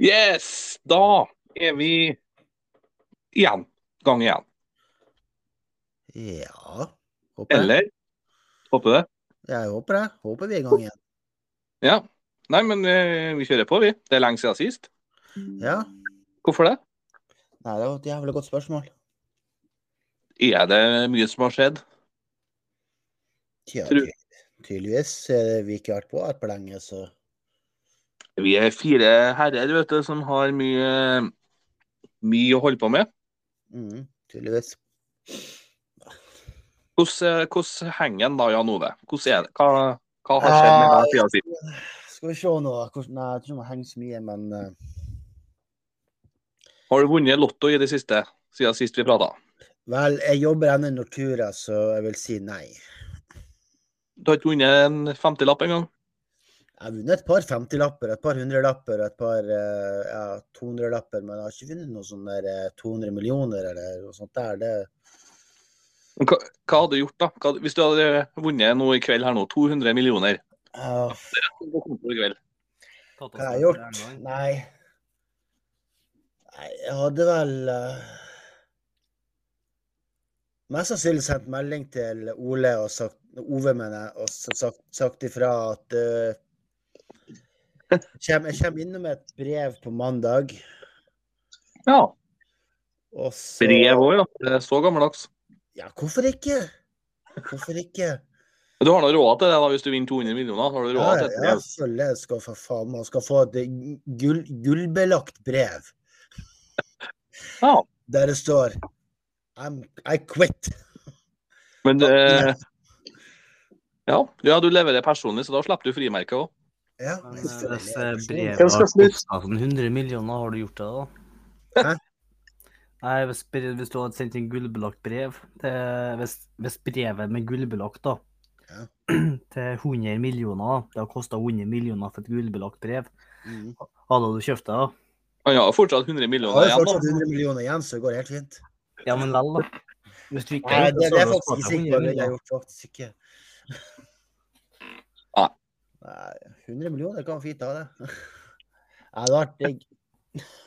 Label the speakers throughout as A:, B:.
A: Yes! Da er vi igjen. Gang igjen.
B: Ja. Håper jeg.
A: Eller? Håper det.
B: Jeg håper det. Håper vi er i gang igjen.
A: Ja. Nei, men eh, vi kjører på, vi. Det er lenge siden sist.
B: Ja.
A: Hvorfor det?
B: Nei, det var et jævlig godt spørsmål.
A: Er det mye som har skjedd?
B: Tja,
A: Tror-
B: ty- tydeligvis har vi ikke vært på her på lenge, så
A: Vi er fire herrer vet du, som har mye, mye å holde på med.
B: mm, tydeligvis.
A: Hvordan, hvordan henger en da, Jan Ove? Hvordan er det? Hva, hva har skjedd med deg siden sist?
B: Skal vi se nå hvordan Nei, Jeg tror ikke det henger så mye, men eh,
A: Har du vunnet Lotto i det siste? Siden sist vi prata?
B: Vel, jeg jobber ennå i Nortura, så jeg vil si nei.
A: Du har ikke vunnet en femtilapp engang?
B: Jeg har vunnet et par 50-lapper, et par 100-lapper, et par eh, ja, 200-lapper, men jeg har ikke vunnet noe sånn der eh, 200 millioner eller noe sånt der. Det,
A: Men Hva, hva hadde du gjort, da? Hva, hadde- hvis du hadde vunnet nå i kveld her nå, 200 millioner
B: ja,
A: på konto i kveld.
B: Hva har jeg gjort? Nei. Nei, jeg hadde vel eh, Mest sannsynlig sendt melding til Ole og sagt, Ove, mener jeg, og så sagt, sagt ifra at eh, kjem, Jeg kommer innom et brev på mandag,
A: Ja.
B: og så
A: Brev òg, ja. Det er Så gammeldags.
B: Ja, hvorfor ikke? Hvorfor ikke?
A: Men Du har nå råd til det da, hvis du vinner 200 millioner? Har du
B: Ja,
A: råd
B: ja,
A: til et
B: ja,
A: brev?
B: selvfølgelig jeg skal for faen Man skal få et eh, gull, gullbelagt brev
A: Ja.
B: der det står I'm, I quit.
A: Men eh, ja. ja, du leverer personlig, så da slipper du frimerket òg.
B: Ja,
C: Men,
B: jeg
C: eh,
B: føler
C: Hvis
B: det
C: eh,
B: er personlig.
C: brevet
D: Hvem skal
C: har
D: snu?
C: kostet sånn 100 millioner, har du gjort det da?
B: Hæ?
C: Nei, hvis, bre- hvis du hadde sendt en gullbelagt brev til, hvis, hvis brevet med gullbelagt da,
B: Ja.
C: til 100 millioner, da, det har kostet 100 millioner for et gullbelagt brev,
B: Mm.
C: hadde du kjøpt det da?
A: Han har fortsatt 100
B: Jeg
A: millioner
B: har jo
A: igjen.
B: fortsatt
A: da.
B: 100 millioner igjen, så det går helt fint.
C: Ja, men vel da. Hvis du ikke
B: Nei,
C: hadde
B: det, det
C: gjort så
B: er sånn
C: hadde du
B: faktisk ikke sikkert. Jeg
C: spart deg 100
B: har
C: millioner.
B: gjort faktisk ikke.
A: Nei.
B: Nei, 100 millioner kan fint ha det. Nei, det har vært digg.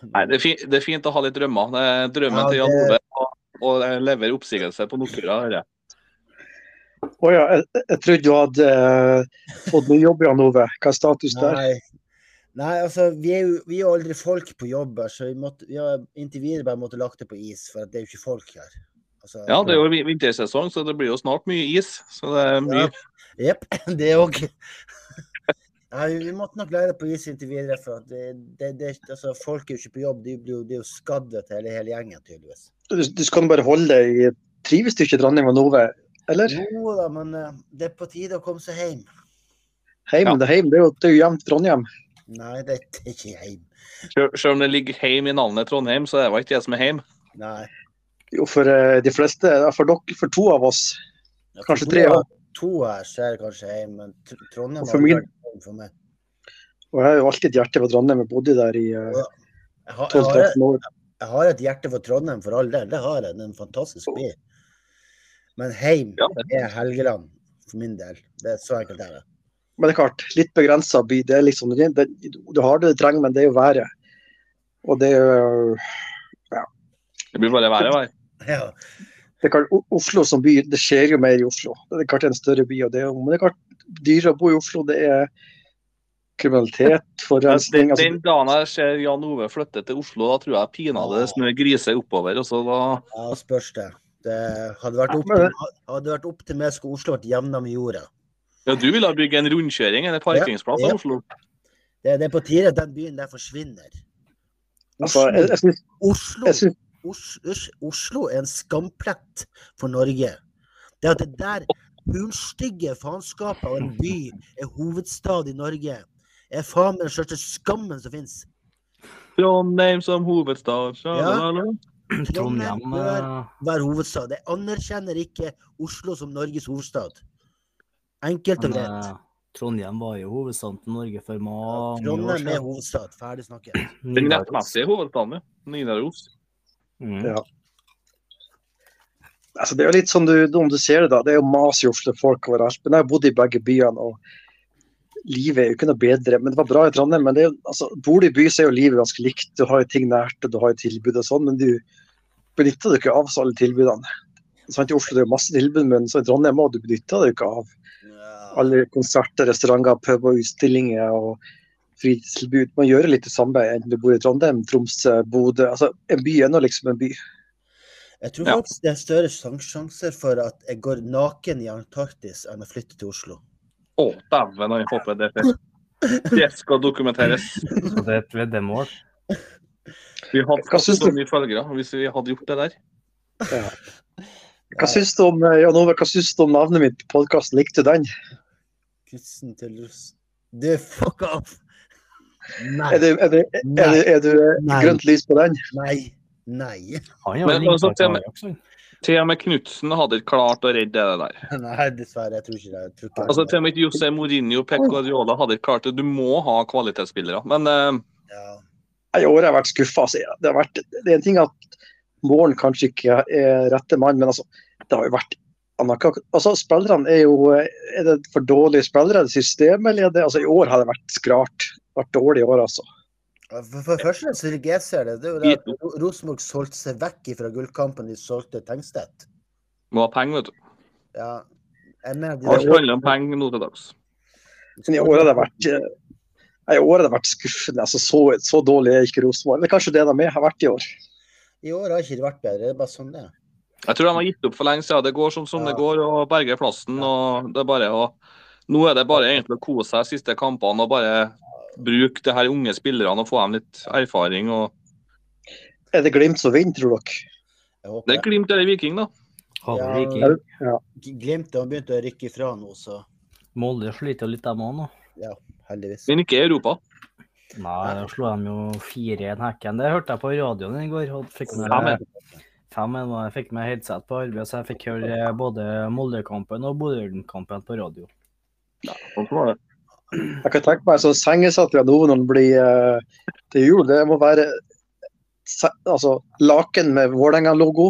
A: Nei, det er, fint, det er fint å ha litt drømmer. Det er drømmen
B: Ja,
A: til Jan Ove
B: det-
A: å- å levere oppsigelse på Nortura. hører jeg.
D: Å ja, jeg, jeg trodde du hadde eh, fått ny jobb, Jan Ove. Hva er status der?
B: Nei. Nei, altså, vi er jo vi er jo aldri folk på jobb her, så vi, måtte, vi har inntil videre bare måtte lagt det på is, for at det er jo ikke folk her. Altså,
A: Ja, det er jo vi- vintersesong, så det blir jo snart mye is. Så det er mye
B: Jepp, det òg. Nei, vi måtte nok lære det på is inntil videre. For at det, det, det, altså, folk er jo ikke på jobb. De blir jo, de er jo skadde til hele, hele gjengen, tydeligvis.
D: Du, du skal nå bare holde deg i Trives du ikke i Trondheim og Nove, eller?
B: Jo da, men eh, det er på tide å komme seg hjem.
D: Heim,
A: Ja.
D: det er heim. Det er jo, det er jo jevnt Trondheim.
B: Nei, det er ikke hjem.
A: Sjøl sjøl om det ligger heim i navnet Trondheim, så er det jo ikke det som er heim.
B: Nei.
D: Jo, for eh, de fleste, ja, for, dere, for to av oss.
B: Ja, for
D: Kanskje
B: to
D: tre
B: her-
D: år.
B: To her så er det kanskje hjem, men Tr- Trondheim
D: Og
B: har
D: for min-
B: aldri vært hjem for meg.
D: Og jeg har jo alltid et hjerte for Trondheim. Jeg bodde der i eh,
B: Jeg har, jeg, har,
D: 12-13 år.
B: jeg har et hjerte for Trondheim, for all del. Det har jeg. Det er en fantastisk by. Men hjem
A: Ja, det.
B: er Helgeland, for min del. Det er så enkelt er det.
D: Men det er klart, litt begrensa by. Det er liksom, det, det- du har det du trenger, men det er jo været. Og det er jo
A: det blir bare verre og verre.
B: Ja.
D: det er klart, O- Oslo som by, det skjer jo mer i Oslo. Det er klart det er en større by. og det er jo, Men det er klart, dyrere å bo i Oslo, det er kriminalitet, forurensning altså,
A: Den dagen jeg ser Jan Ove flytte til Oslo, da tror jeg pinadø
B: Ah.
A: det snør griser oppover. og så da...
B: Ja, spørs det. det hadde, vært opp
D: Ja, men-
B: til, hadde vært opp til meg, skulle Oslo vært jevna med jorda.
A: Ja, Du ville ha bygd en rundkjøring eller parkeringsplass
B: Ja,
A: i
B: ja.
A: Oslo?
B: Det, det er på tide at den byen der forsvinner.
D: altså,
B: Oslo,
D: jeg, jeg synes,
B: Oslo,
D: jeg synes,
B: Os- Os- Oslo er en skamplett for Norge. Det at det der hulstygge faenskapet av en by er hovedstad i Norge, er faen meg den største skammen som fins.
A: Trondheim som hovedstad. sjalalala.
B: Mm. Trondheim
C: Trondheim,
B: bør-
C: eh,
B: Hver hovedstad. Jeg anerkjenner ikke Oslo som Norges hovedstad. Enkelt og
C: men,
B: greit.
C: eh, Trondheim var jo hovedstaden til Norge for mange år
B: Trondheim er
C: siden.
B: hovedstad. Ferdig snakket.
A: Den
C: Nidaros.
A: rettmessige hovedstaden, ja. Nidaros.
C: Mm.
D: Ja. altså, det er jo litt sånn du, om du ser det, da. Det er jo mas i Oslo, folk overalt. Men jeg har bodd i begge byene. og livet er jo ikke noe bedre. Men det var bra i Trondheim. Men det er, jo- altså, bor du i by, så er jo livet ganske likt. Du har jo ting nært, og du har jo tilbud og sånn, men du benytter deg ikke av så alle tilbudene. Sant, I Oslo det er jo masse tilbud, men så i Trondheim også, du benytter deg jo ikke av alle konserter, restauranter, pub og utstillinger og fritidstilbud. Man gjør jo litt det samme enten du bor i Trondheim, Tromsø, Bodø. Altså, en by er nå liksom en by.
B: Jeg tror
A: Ja.
B: faktisk det er større sjans- sjanser for at jeg går naken i Antarktis enn å flytte til Oslo.
A: Å, dæven, han hopper det til. Det skal dokumenteres.
C: Så det er et veddemål.
A: Vi hadde
D: Hva
A: fått
D: syns
A: så
D: du?
A: mye følgere hvis vi hadde gjort det der.
D: Hva syns du om, eh, Jan Ove, hva syns du om navnet mitt på podkasten? Likte du den?
B: Kyssen til russ... Du, fuck off!
D: Er
B: Nei.
D: det, er det, er det, er det
B: Nei.
D: grønt lys på den?
B: Nei. Nei.
C: Han er
A: Men-
C: jo
A: men så
C: ringt
A: til og
C: av
A: med-
C: også.
A: Til og med Knutsen hadde klart å redde det der.
B: Nei, dessverre. Jeg tror ikke det. Jeg tror ikke det.
A: Altså, til og med Jose Mourinho Pep Guardiola hadde klart det. Du må ha kvalitetsspillere. Men eh,
B: Ja.
D: Nei, I år har jeg vært skuffa. Altså. Det, har vært- det er en ting at Målen kanskje ikke er rette mann, men altså, det har jo vært anakak- altså, Spillerne er jo eh, Er det for dårlige spillere? Er det systemet, eller er det altså, I år har det vært skrart. Vært dårlig i år, altså.
B: For, for det første så er det ikke jeg ser det, det er jo det at Ro- Rosenborg solgte seg vekk fra gullkampen de solgte Tengstedt.
A: må ha penger, vet du.
B: Ja. Jeg mener de
A: Alt handler om penger nå til dags.
D: Men i år har det vært eh, Nei, i år har det vært skuffende. altså Så, så dårlig er ikke Rosenborg. Eller kanskje det de er, har vært i år.
B: I år har ikke det vært bedre. Det er bare sånn det er.
A: Jeg tror de har gitt opp for lenge siden. Det går sånn som det
B: Ja.
A: går, og berger plassen. og det er bare å... Nå er det bare egentlig å kose seg de siste kampene og bare bruke de her unge spillerne og få dem litt erfaring. og
D: Er det Glimt som vinner, tror dere?
B: Jeg håper
A: Det er Glimt eller Viking, da.
C: Håper
B: Ja,
C: vi ikke-
B: er
D: det- ja.
B: G- Glimt har begynt å rykke ifra nå, så
C: Molde sliter jo litt, dem òg nå.
B: heldigvis.
A: Men ikke i Europa.
C: Nei, da slo de jo 4-1 hekken. Det hørte jeg på radioen i går. og fikk med...
A: 5-1.
C: 5-1 var- Jeg fikk med headset på arbeid, så jeg fikk høre eh, både Molde-kampen og Bodø-kampen på radio.
A: Sånn var det.
D: Jeg kan tenke meg sånn sengesatt fra nå når det blir eh, til jul. Det må være se- altså, laken med Vålerenga-logo,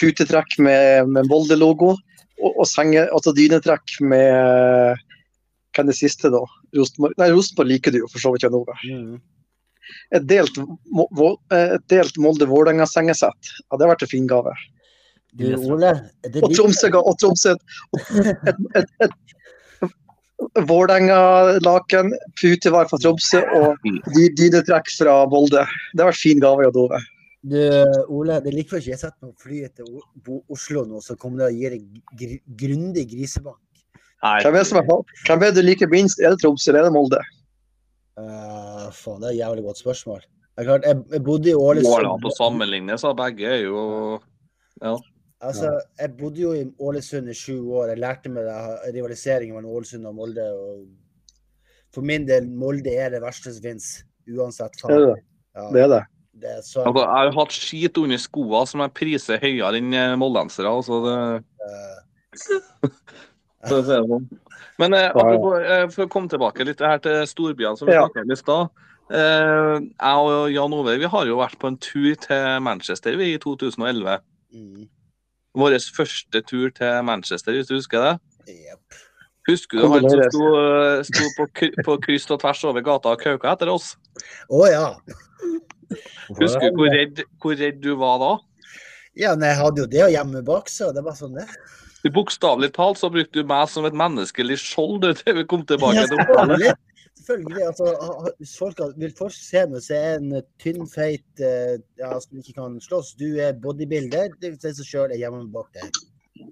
D: putetrekk med, med Molde-logo og, og senge, altså dynetrekk med Hva er det siste, da? Rosenborg? Nei, Rosenborg liker du jo for så vidt. Jan Ove.
B: Mm.
D: Et delt, Mo- Vo- eh, et delt Molde-Vålerenga-sengesett. Ja, det har vært en fin gave.
B: Du, Ole, det
D: Og Tromsø ga og Tromsø et, et, et, et, Vålerenga-laken, putevar fra Tromsø og dy- dynetrekk fra Molde. Det har vært fin gave, Jan Ove.
B: du, Ole, det er like før ikke jeg setter meg på flyet til O- Bo- Oslo nå, så kommer det å gi deg gr grundig grisebank.
D: Hvem er, det som er, hvem er det du liker minst? Er det Tromsø eller er det Molde?
B: Eh, faen, det er et jævlig godt spørsmål. Det er klart, jeg, jeg bodde i
A: Går det
D: sånn-
A: an å
B: Ålesund.
A: sammenligne, sa begge. er jo...
B: Altså, jeg bodde jo i Ålesund i sju år. Jeg lærte meg det- rivaliseringen mellom Ålesund og Molde. Og for min del, Molde er det verste som fins. Uansett.
D: Det er det. det,
B: Ja,
D: er det.
B: det er så,
A: Altså, jeg har hatt skit under skoene som jeg priser høyere enn eh, moldensere. Altså, det,
B: eh,
A: for å si det sånn. Men eh, apropos, eh, for å komme tilbake litt her til storbyene som vi
D: Ja.
A: snakket om i stad. Eh, jeg og Jan Ove vi har jo vært på en tur til Manchester vi, i 2011.
B: mm,
A: Vår første tur til Manchester, hvis du husker det.
B: jep.
A: Husker du han som
D: Kondoleres.
A: sto, eh, sto på, kry- på kryss og tvers over gata og kauka etter oss?
B: Å ja.
A: Husker du hvor redd, hvor redd du var da?
B: Ja, nei, jeg hadde jo det og hjemme bak, så det var sånn det.
A: Du Bokstavelig talt så brukte du meg som et menneskelig skjold du, til vi kom tilbake
B: Ja,
A: til Oppland.
B: selvfølgelig. selvfølgelig altså, ha- ha- hvis folk, har- vil folk se meg, så er jeg en eh, tynn, feit eh, ja, som ikke kan slåss. Du er bodybuilder. Det sier seg sjøl, jeg er hjemme bak deg.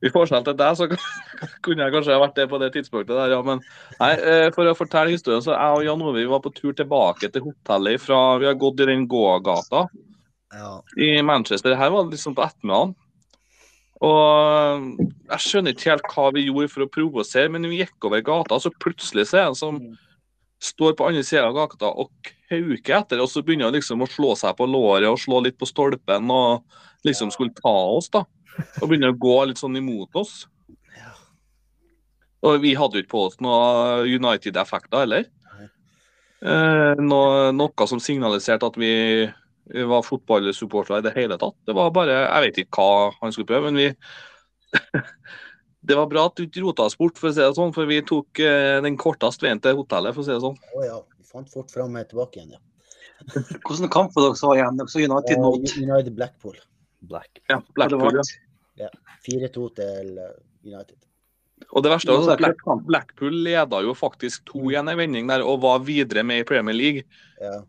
A: I forskjell til deg, så kunne jeg kanskje ha vært det på det tidspunktet der, ja. Men nei, eh, for å fortelle historien, så jeg og Jan Ove vi var på tur tilbake til hotellet fra Vi har gått i den gågata
B: Ja.
A: i Manchester. Her var det liksom på ettermiddagen. Og jeg skjønner ikke helt hva vi gjorde for å provosere, men vi gikk over gata, så plutselig ser jeg en som
B: Mm.
A: står på andre sida av gata og kauker etter, og så begynner han liksom å slå seg på låret og slå litt på stolpen og liksom skulle ta oss, da. Og begynner å gå litt sånn imot oss.
B: Ja.
A: Og vi hadde jo ikke på oss noe United-effekter heller.
B: Nei.
A: Eh, noe, noe som signaliserte at vi, vi var fotballsupportere i det hele tatt. Det var bare Jeg vet ikke hva han skulle prøve, men vi Det var bra at du ikke rota oss bort, for å si det sånn, for vi tok eh, den korteste veien til hotellet. for å si det sånn.
B: Å ja. Vi fant fort fram her tilbake igjen, ja.
D: Hvordan kamp var dere så igjen? Dere så
B: Eh,
D: United mot
B: United Blackpool.
C: Black.
A: Ja, Blackpool, ja.
B: 4-2 til eh, United.
A: Og det verste
D: Det
A: var
D: var
A: at Black,
D: cupkamp.
A: Blackpool leda jo faktisk 2-1 i vending der, og var videre med i Premier League.
B: Ja.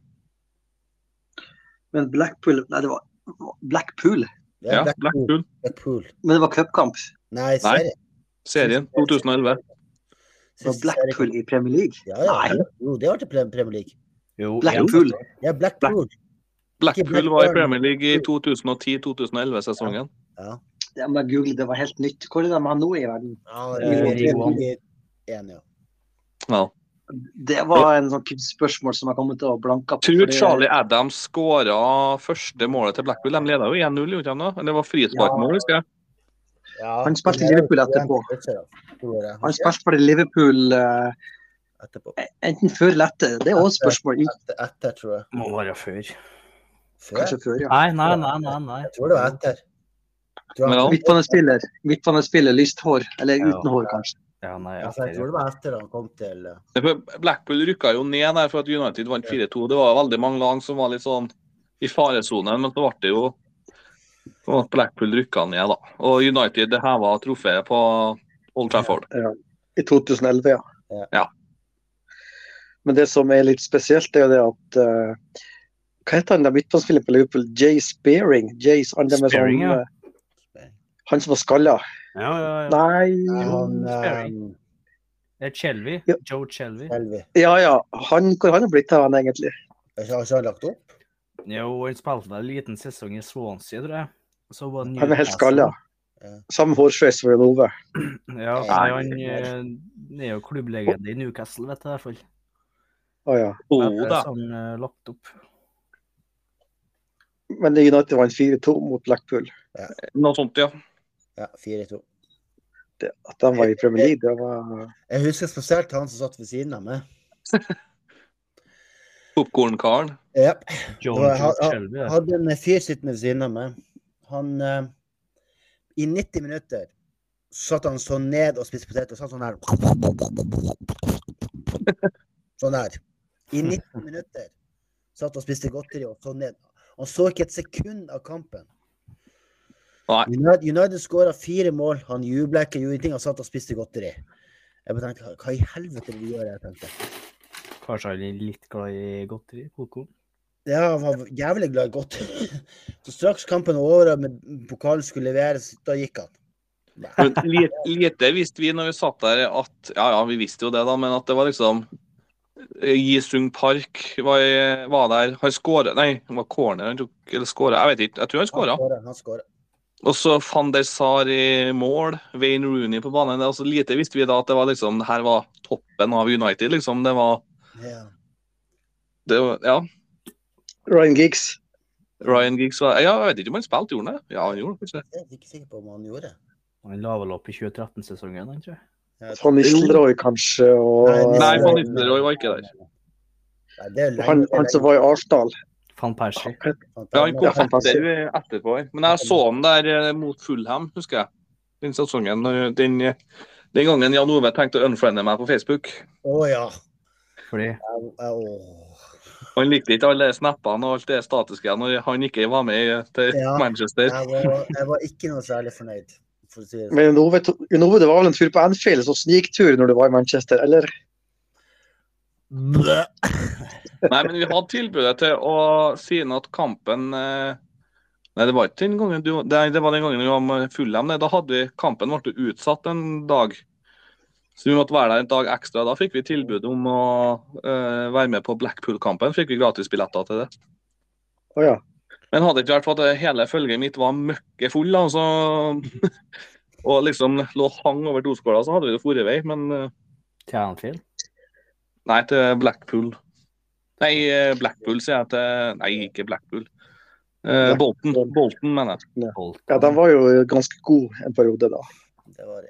D: Men Blackpool Nei, det var Blackpool.
B: Det er
A: Ja,
B: Blackpool.
A: Blackpool.
B: Blackpool.
D: Men det var cupkamp.
B: Nei, serien.
A: Serien 2011.
D: Det var
B: Siste
D: Blackpool
B: serien.
D: i Premier League.
B: Ja, ja.
D: Nei.
B: Jo, det var til Pre- Premier League.
C: Jo,
D: Blackpool.
B: Ja, Blackpool.
A: Blackpool var i Premier League i 2010-2011-sesongen.
B: Ja.
D: Det må jeg google, det var helt nytt. Hvor er det de har nå i verden?
B: ja
D: Premier
B: det
D: League
B: var
C: one.
B: en, ja.
A: Ja.
D: Det var en sånn kid- spørsmål som jeg kommer til å blanke på.
A: Tror
D: fordi-
A: Charlie Adams skåra første målet til Blackpool. De leda jo 1-0, gjorde de ikke? Det var frisparkmål, husker jeg.
B: ja.
D: Han spilte i Liverpool etterpå. Han spilte for Liverpool eh,
B: etterpå.
D: enten før eller etter. Det er også et spørsmål. I-
B: Etter, etter, tror jeg.
C: må være før.
B: Før?
D: Kanskje før, ja.
C: Nei, nei, nei. nei, nei.
B: Jeg tror det var etter. Jeg tror
A: Men
B: han-
D: Midtbanespiller. Midtbanespiller, lyst hår. Eller
C: Ja.
D: uten hår, kanskje.
C: Ja, nei,
B: Ja, for
C: etter,
B: altså, jeg tror
C: ja.
B: det var etter han kom til eh,
A: For Blackpool rykka jo ned der for at United vant 4-2. Det var veldig mange lag som var litt sånn i faresonen, men så ble det jo sånn at Blackpool rykka ned, da. Og United heva trofeet på Old Trafford.
D: I 2011, ja.
B: Ja.
A: Ja.
D: Men det som er litt spesielt, det er jo det at eh, Hva heter han der midtbanespilleren på Liverpool? Jay Spearing? Jay, han, der med
C: Spearing,
D: sånn,
C: ja.
D: eh, han som var skalla?
C: Ja, ja, ja.
D: Nei
B: han
C: Sperry.
B: eh,
C: Det er Chelvi.
D: Ja.
C: Joe Chelvi.
B: Elvi.
D: Ja ja, han, hvor har han blitt av, han egentlig?
B: Har ikke har ikke han lagt opp?
C: Jo, han spilte vel en liten sesong i Swansea, tror jeg. Så var
D: Han er helt
C: Newcastle.
D: skalla. Samme hårsveis som Jan Ove.
C: Ja, nei, han eh, er jo klubblegende i Newcastle, vet du i hvert fall.
D: Å ja.
A: Jo
C: Det er
A: da.
C: sånn eh, lagt opp.
D: Men United vant 4-2 mot Blackpool.
A: Noe sånt, ja.
B: Ja, 4-2.
D: Det, at de var i Premier League, det var
B: Jeg husker spesielt han som satt ved siden av meg.
A: Popkornkaren.
B: Ja.
C: John
B: Det var-
C: Joe
B: ha- ha-
C: Chelvi.
B: Jeg
C: ja.
B: hadde en fyr sittende ved siden av meg. Han eh, I 90 minutter satt han sånn ned og spiste poteter. Satt sånn her. Sånn her. I 90 minutter satt og spiste godteri og sånn ned. Han så ikke et sekund av kampen.
A: Nei.
B: United, United skåra fire mål. Han jubla ikke, gjorde ingenting. Han satt og spiste godteri. Jeg bare tenkte, Hva i helvete vil vi gjøre? Jeg tenkte.
C: Kanskje han er litt glad i godteri? Koko?
B: Ja, han var jævlig glad i godteri. Så straks kampen var over og med- pokalen skulle leveres, da gikk han.
A: Men lite, lite visste vi når vi satt der at Ja ja, vi visste jo det, da, men at det var liksom eh, Jisung Park var, i- var der. Han skåra Nei, det var corner han tok. Eller skåra. Jeg vet ikke. Jeg tror han skåra.
B: Han skåra, Han skåra.
A: Og så van der Sar i mål. Wayne Rooney på banen. Det er også lite visste vi da at det var liksom det Her var toppen av United, liksom. Det var,
B: Ja.
A: det var Ja.
D: Ryan Giggs.
A: Ryan Giggs var Ja, jeg vet ikke om han spilte, gjorde han det? Ja, han gjorde kanskje det.
B: Jeg er ikke sikker på om han gjorde det.
C: Han la vel opp i 2013-sesongen, han, tror jeg.
B: Jeg-
D: Van Nistelrooy, kanskje. Og
A: Nei,
B: Nistelrooy-
A: Van Nistelrooy var ikke der.
B: Nei, det er lenge,
D: han, han som var i Arsenal.
C: Van Persie.
A: Ja, han kom
D: Ja, fantastisk.
A: etter, etterpå. her. Men jeg så han der eh, mot Fulham, husker jeg. Den sesongen. når- Den, eh, den gangen Jan Ove tenkte å unfriende meg på Facebook.
B: Å ja.
C: Fordi
B: Au, au.
A: Han likte ikke alle snappene og alt det statiske når han ikke var med i- eh, til
B: Ja.
A: Manchester.
B: Jeg var, jeg var ikke noe særlig fornøyd. For å si det. sånn.
D: Men Jan Ove to- Jan Ove, det var vel en tur på Anfield, så sniktur når du var i Manchester, eller?
B: Blø.
A: Nei, men vi hadde tilbudet til å siden at kampen eh, Nei, det var ikke den gangen du Nei, det var den gangen vi var med Fulham. Nei, da hadde vi Kampen ble utsatt en dag. Så vi måtte være der en dag ekstra. Da fikk vi tilbud om å eh, være med på Blackpool-kampen. Fikk vi gratis billetter til det.
D: Å ja.
A: Men hadde det ikke vært for at hele følget mitt var møkkefull, da, så, og liksom lå hang over doskåla, så hadde vi det forrige vei. Men eh,
C: Tjernfjell.
A: nei, til Blackpool. Nei, eh, Blackpool sier jeg til Nei, ikke Blackpool. Eh, Bolton, Bolton, mener jeg.
D: ja, de var jo ganske gode en periode da.
B: Det var det.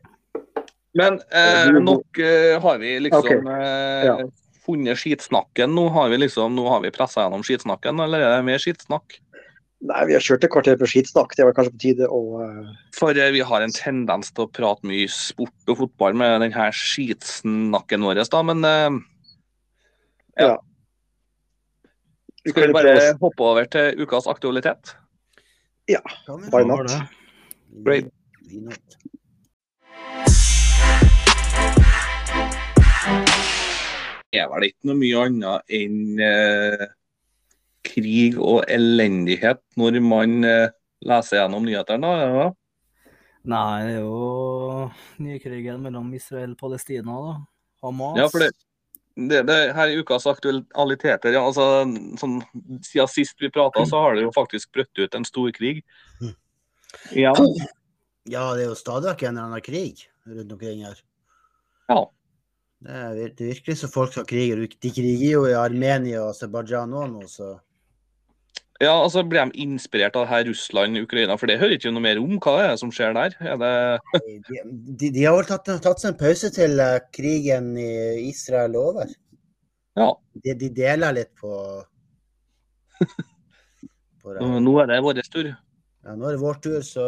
A: Men eh, nok eh, har vi liksom
D: Ok,
A: eh,
D: ja.
A: funnet skitsnakken. Nå har vi liksom, nå har vi pressa gjennom skitsnakken, eller er det mer skitsnakk?
D: Nei, vi har kjørt et kvarter på skitsnakk. Det var kanskje på tide å eh,
A: For eh, vi har en tendens til å prate mye sport og fotball med denne skitsnakken vår, da, men eh,
D: vi
A: skal
D: kan
A: vi
D: jo
A: bare
D: prøve
A: hoppe over til ukas aktualitet?
B: Kan vi?
D: Why not?
A: Great.
B: Why not?
A: Det er vel ikke noe mye annet enn eh, krig og elendighet når man eh, leser gjennom nyhetene, da. er det det?
C: Nei, det er jo nykrigen mellom Israel og Palestina, da. Hamas.
A: Ja, for det, det, det her er ukas aktualiteter. Ja, altså, sånn, siden sist vi prata, så har det jo faktisk brøtt ut en storkrig. Ja.
B: Ja, det er jo stadig vekk en eller annen krig rundt omkring her.
A: Ja.
B: Det er vir- det er virkelig så folk som kriger. De kriger jo i Armenia og Aserbajdsjan òg nå, så
A: ja, altså ble de inspirert av det her Russland-Ukraina, for det hører ikke vi noe mer om. Hva er det som skjer der? Er det
B: de, de, de har vel tatt, tatt seg en pause til eh, krigen i Israel er over.
A: Ja.
B: De, de deler litt på, på det.
A: Nå er det vår tur.
B: Ja, nå er det vår tur, så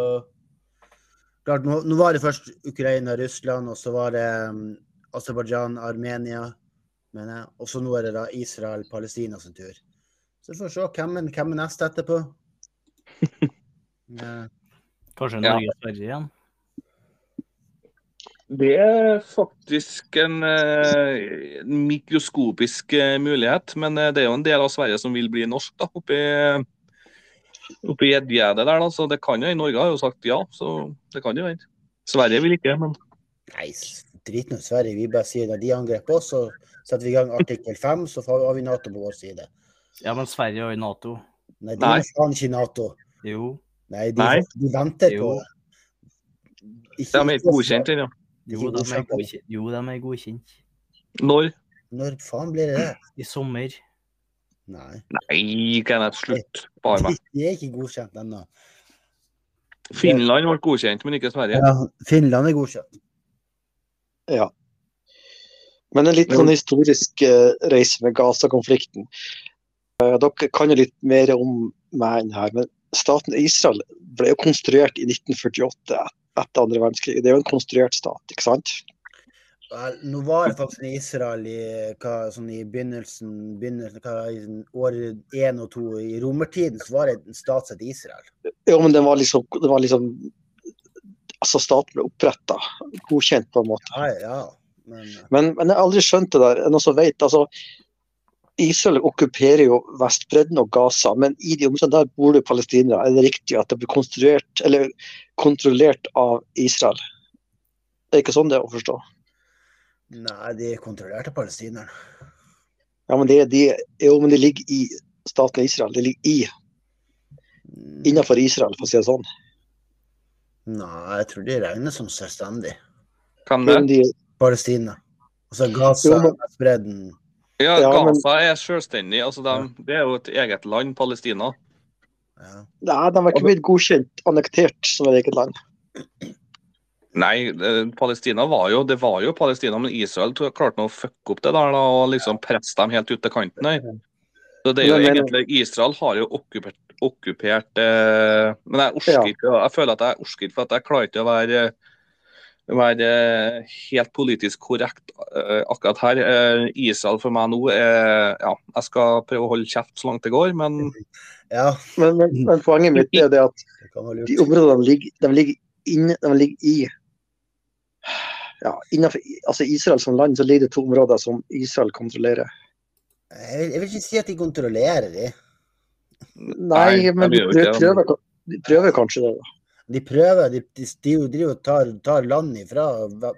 B: Klart, nå, nå var det først Ukraina, Russland, og så var det um, Aserbajdsjan, Armenia. mener jeg. Og så nå er det da Israel, Palestina sin tur. Så vi får se hvem er, hvem er neste etterpå. Ja.
C: Kanskje
A: Ja.
C: Norge og Sverige igjen.
A: Det er faktisk en eh, en mikroskopisk eh, mulighet, men eh, det er jo en del av Sverige som vil bli norsk da, oppi, oppi gjeddegjerdet der. da, Så det kan jo hende. Norge har jo sagt ja, så det kan jo hende. Sverige vil ikke, men
B: Nei, s- drit nå i Sverige. Vi bare sier når de angrep oss, så setter vi i gang artikkel fem, så får- har vi Nato på vår side.
C: Ja, men Sverige og i Nato.
B: Nei, de
A: Nei.
B: er faen ikke i Nato.
C: Jo.
B: Nei, de,
A: Nei.
B: de venter på
C: Jo.
B: det.
A: de er ikke godkjent ennå.
C: Jo, de er godkjent. Jo, de er godkjent.
A: Når?
B: Når faen blir det det?
C: I sommer.
B: Nei.
A: Nei, Kenneth, slutt. Bare meg.
B: De er ikke godkjent ennå.
A: Finland ble godkjent, men ikke Sverige.
B: Ja, Finland er godkjent.
D: Men en liten sånn historisk eh, reise med Gaza-konflikten. Eh, dere kan jo litt mer om meg enn her, men staten Israel ble jo konstruert i 1948 et- etter andre verdenskrig. Det er jo en konstruert stat, ikke sant?
B: Vel, nå var det faktisk i Israel i, hva, sånn i begynnelsen, begynnelsen hva, i sånn år én og to i romertiden, så var det en stat som het Israel.
D: Jo, men den var liksom, den var liksom Altså, staten ble oppretta, godkjent på en måte.
B: Ja, ja. Men
D: Men, men jeg har aldri skjønt det der. Noen som vet, altså, Israel okkuperer jo Vestbredden og Gaza, men i de områdene der bor det palestinere. Er det riktig at det blir konstruert, eller kontrollert av Israel? Det er ikke sånn det er å forstå.
B: nei, de kontrollerte palestinerne.
D: Ja, men, det, de, jo, men de ligger i staten Israel. De ligger i, innenfor Israel, for å si det sånn.
B: Nei, jeg tror de regnes som selvstendig.
A: Kan det?
D: Men de,
B: Palestina. Altså
D: Jo,
B: Gaza,
D: men-
B: Vestbredden.
A: Ja,
D: Ja, men-
A: Gaza er selvstendig. Altså, de, det er jo et eget land, Palestina.
B: Ja.
D: nei, de var ikke blitt godkjent annektert som et eget land.
A: Nei, eh, Palestina var jo Det var jo Palestina, men Israel tror jeg klarte nå å fucke opp det der da, og liksom presse dem helt ut til kanten. her. Så det er jo
D: Men- men-
A: egentlig Israel har jo okkupert, okkupert eh, Men jeg orker
D: Ja.
A: ikke å- Jeg føler at jeg orker ikke, for at jeg klarer ikke å være være eh, helt politisk korrekt eh, akkurat her. Eh, Israel for meg nå er Ja, jeg skal prøve å holde kjeft så langt det går, men
B: ja,
D: Men, men, men poenget mitt er jo det at
B: det kan være
D: De
B: lurt.
D: områdene de ligger, de ligger, inn, de ligger i ja, innenfor, altså Israel som land, så ligger det to områder som Israel kontrollerer.
B: Jeg vil, jeg vil ikke si at de kontrollerer de.
D: Nei,
A: Nei,
D: men
A: de
D: de
A: gjør jo
D: prøver,
A: ikke det.
D: prøver, de prøver kanskje det. da.
B: De prøver, de, de, de driver og tar, tar land ifra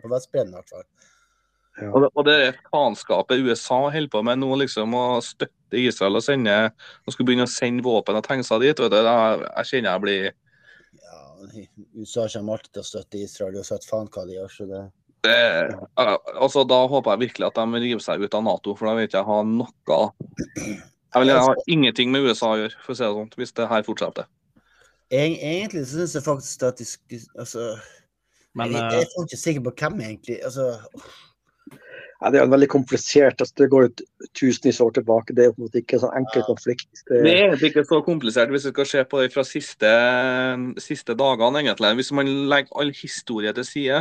B: på Vestbredden i hvert fall.
A: Og det, og det er faenskapet USA holder på med nå, liksom, å støtte Israel og sende og skulle begynne å sende våpen og tankser dit, vet du, da, jeg kjenner jeg blir
B: Ja, USA kommer alltid til å støtte Israel, uansett faen hva de gjør. Så det,
A: det, eh, altså, Da håper jeg virkelig at de river seg ut av Nato, for da vet jeg jeg har noe Jeg vil ha ingenting med USA å gjøre, for å si det sånn, hvis det her fortsetter.
B: Egen- egentlig så syns jeg faktisk at de sk- altså,
C: Men
B: jeg,
C: eh,
B: jeg er faktisk ikke sikker på hvem egentlig altså,
D: Nei, det er jo en veldig komplisert altså, Det går jo t- tusenvis av år tilbake. Det er jo på en måte ikke en sånn enkel konflikt. Det,
A: Det er egentlig ikke så komplisert hvis vi skal se på det fra siste, siste dagene, egentlig. Hvis man legger all historie til side.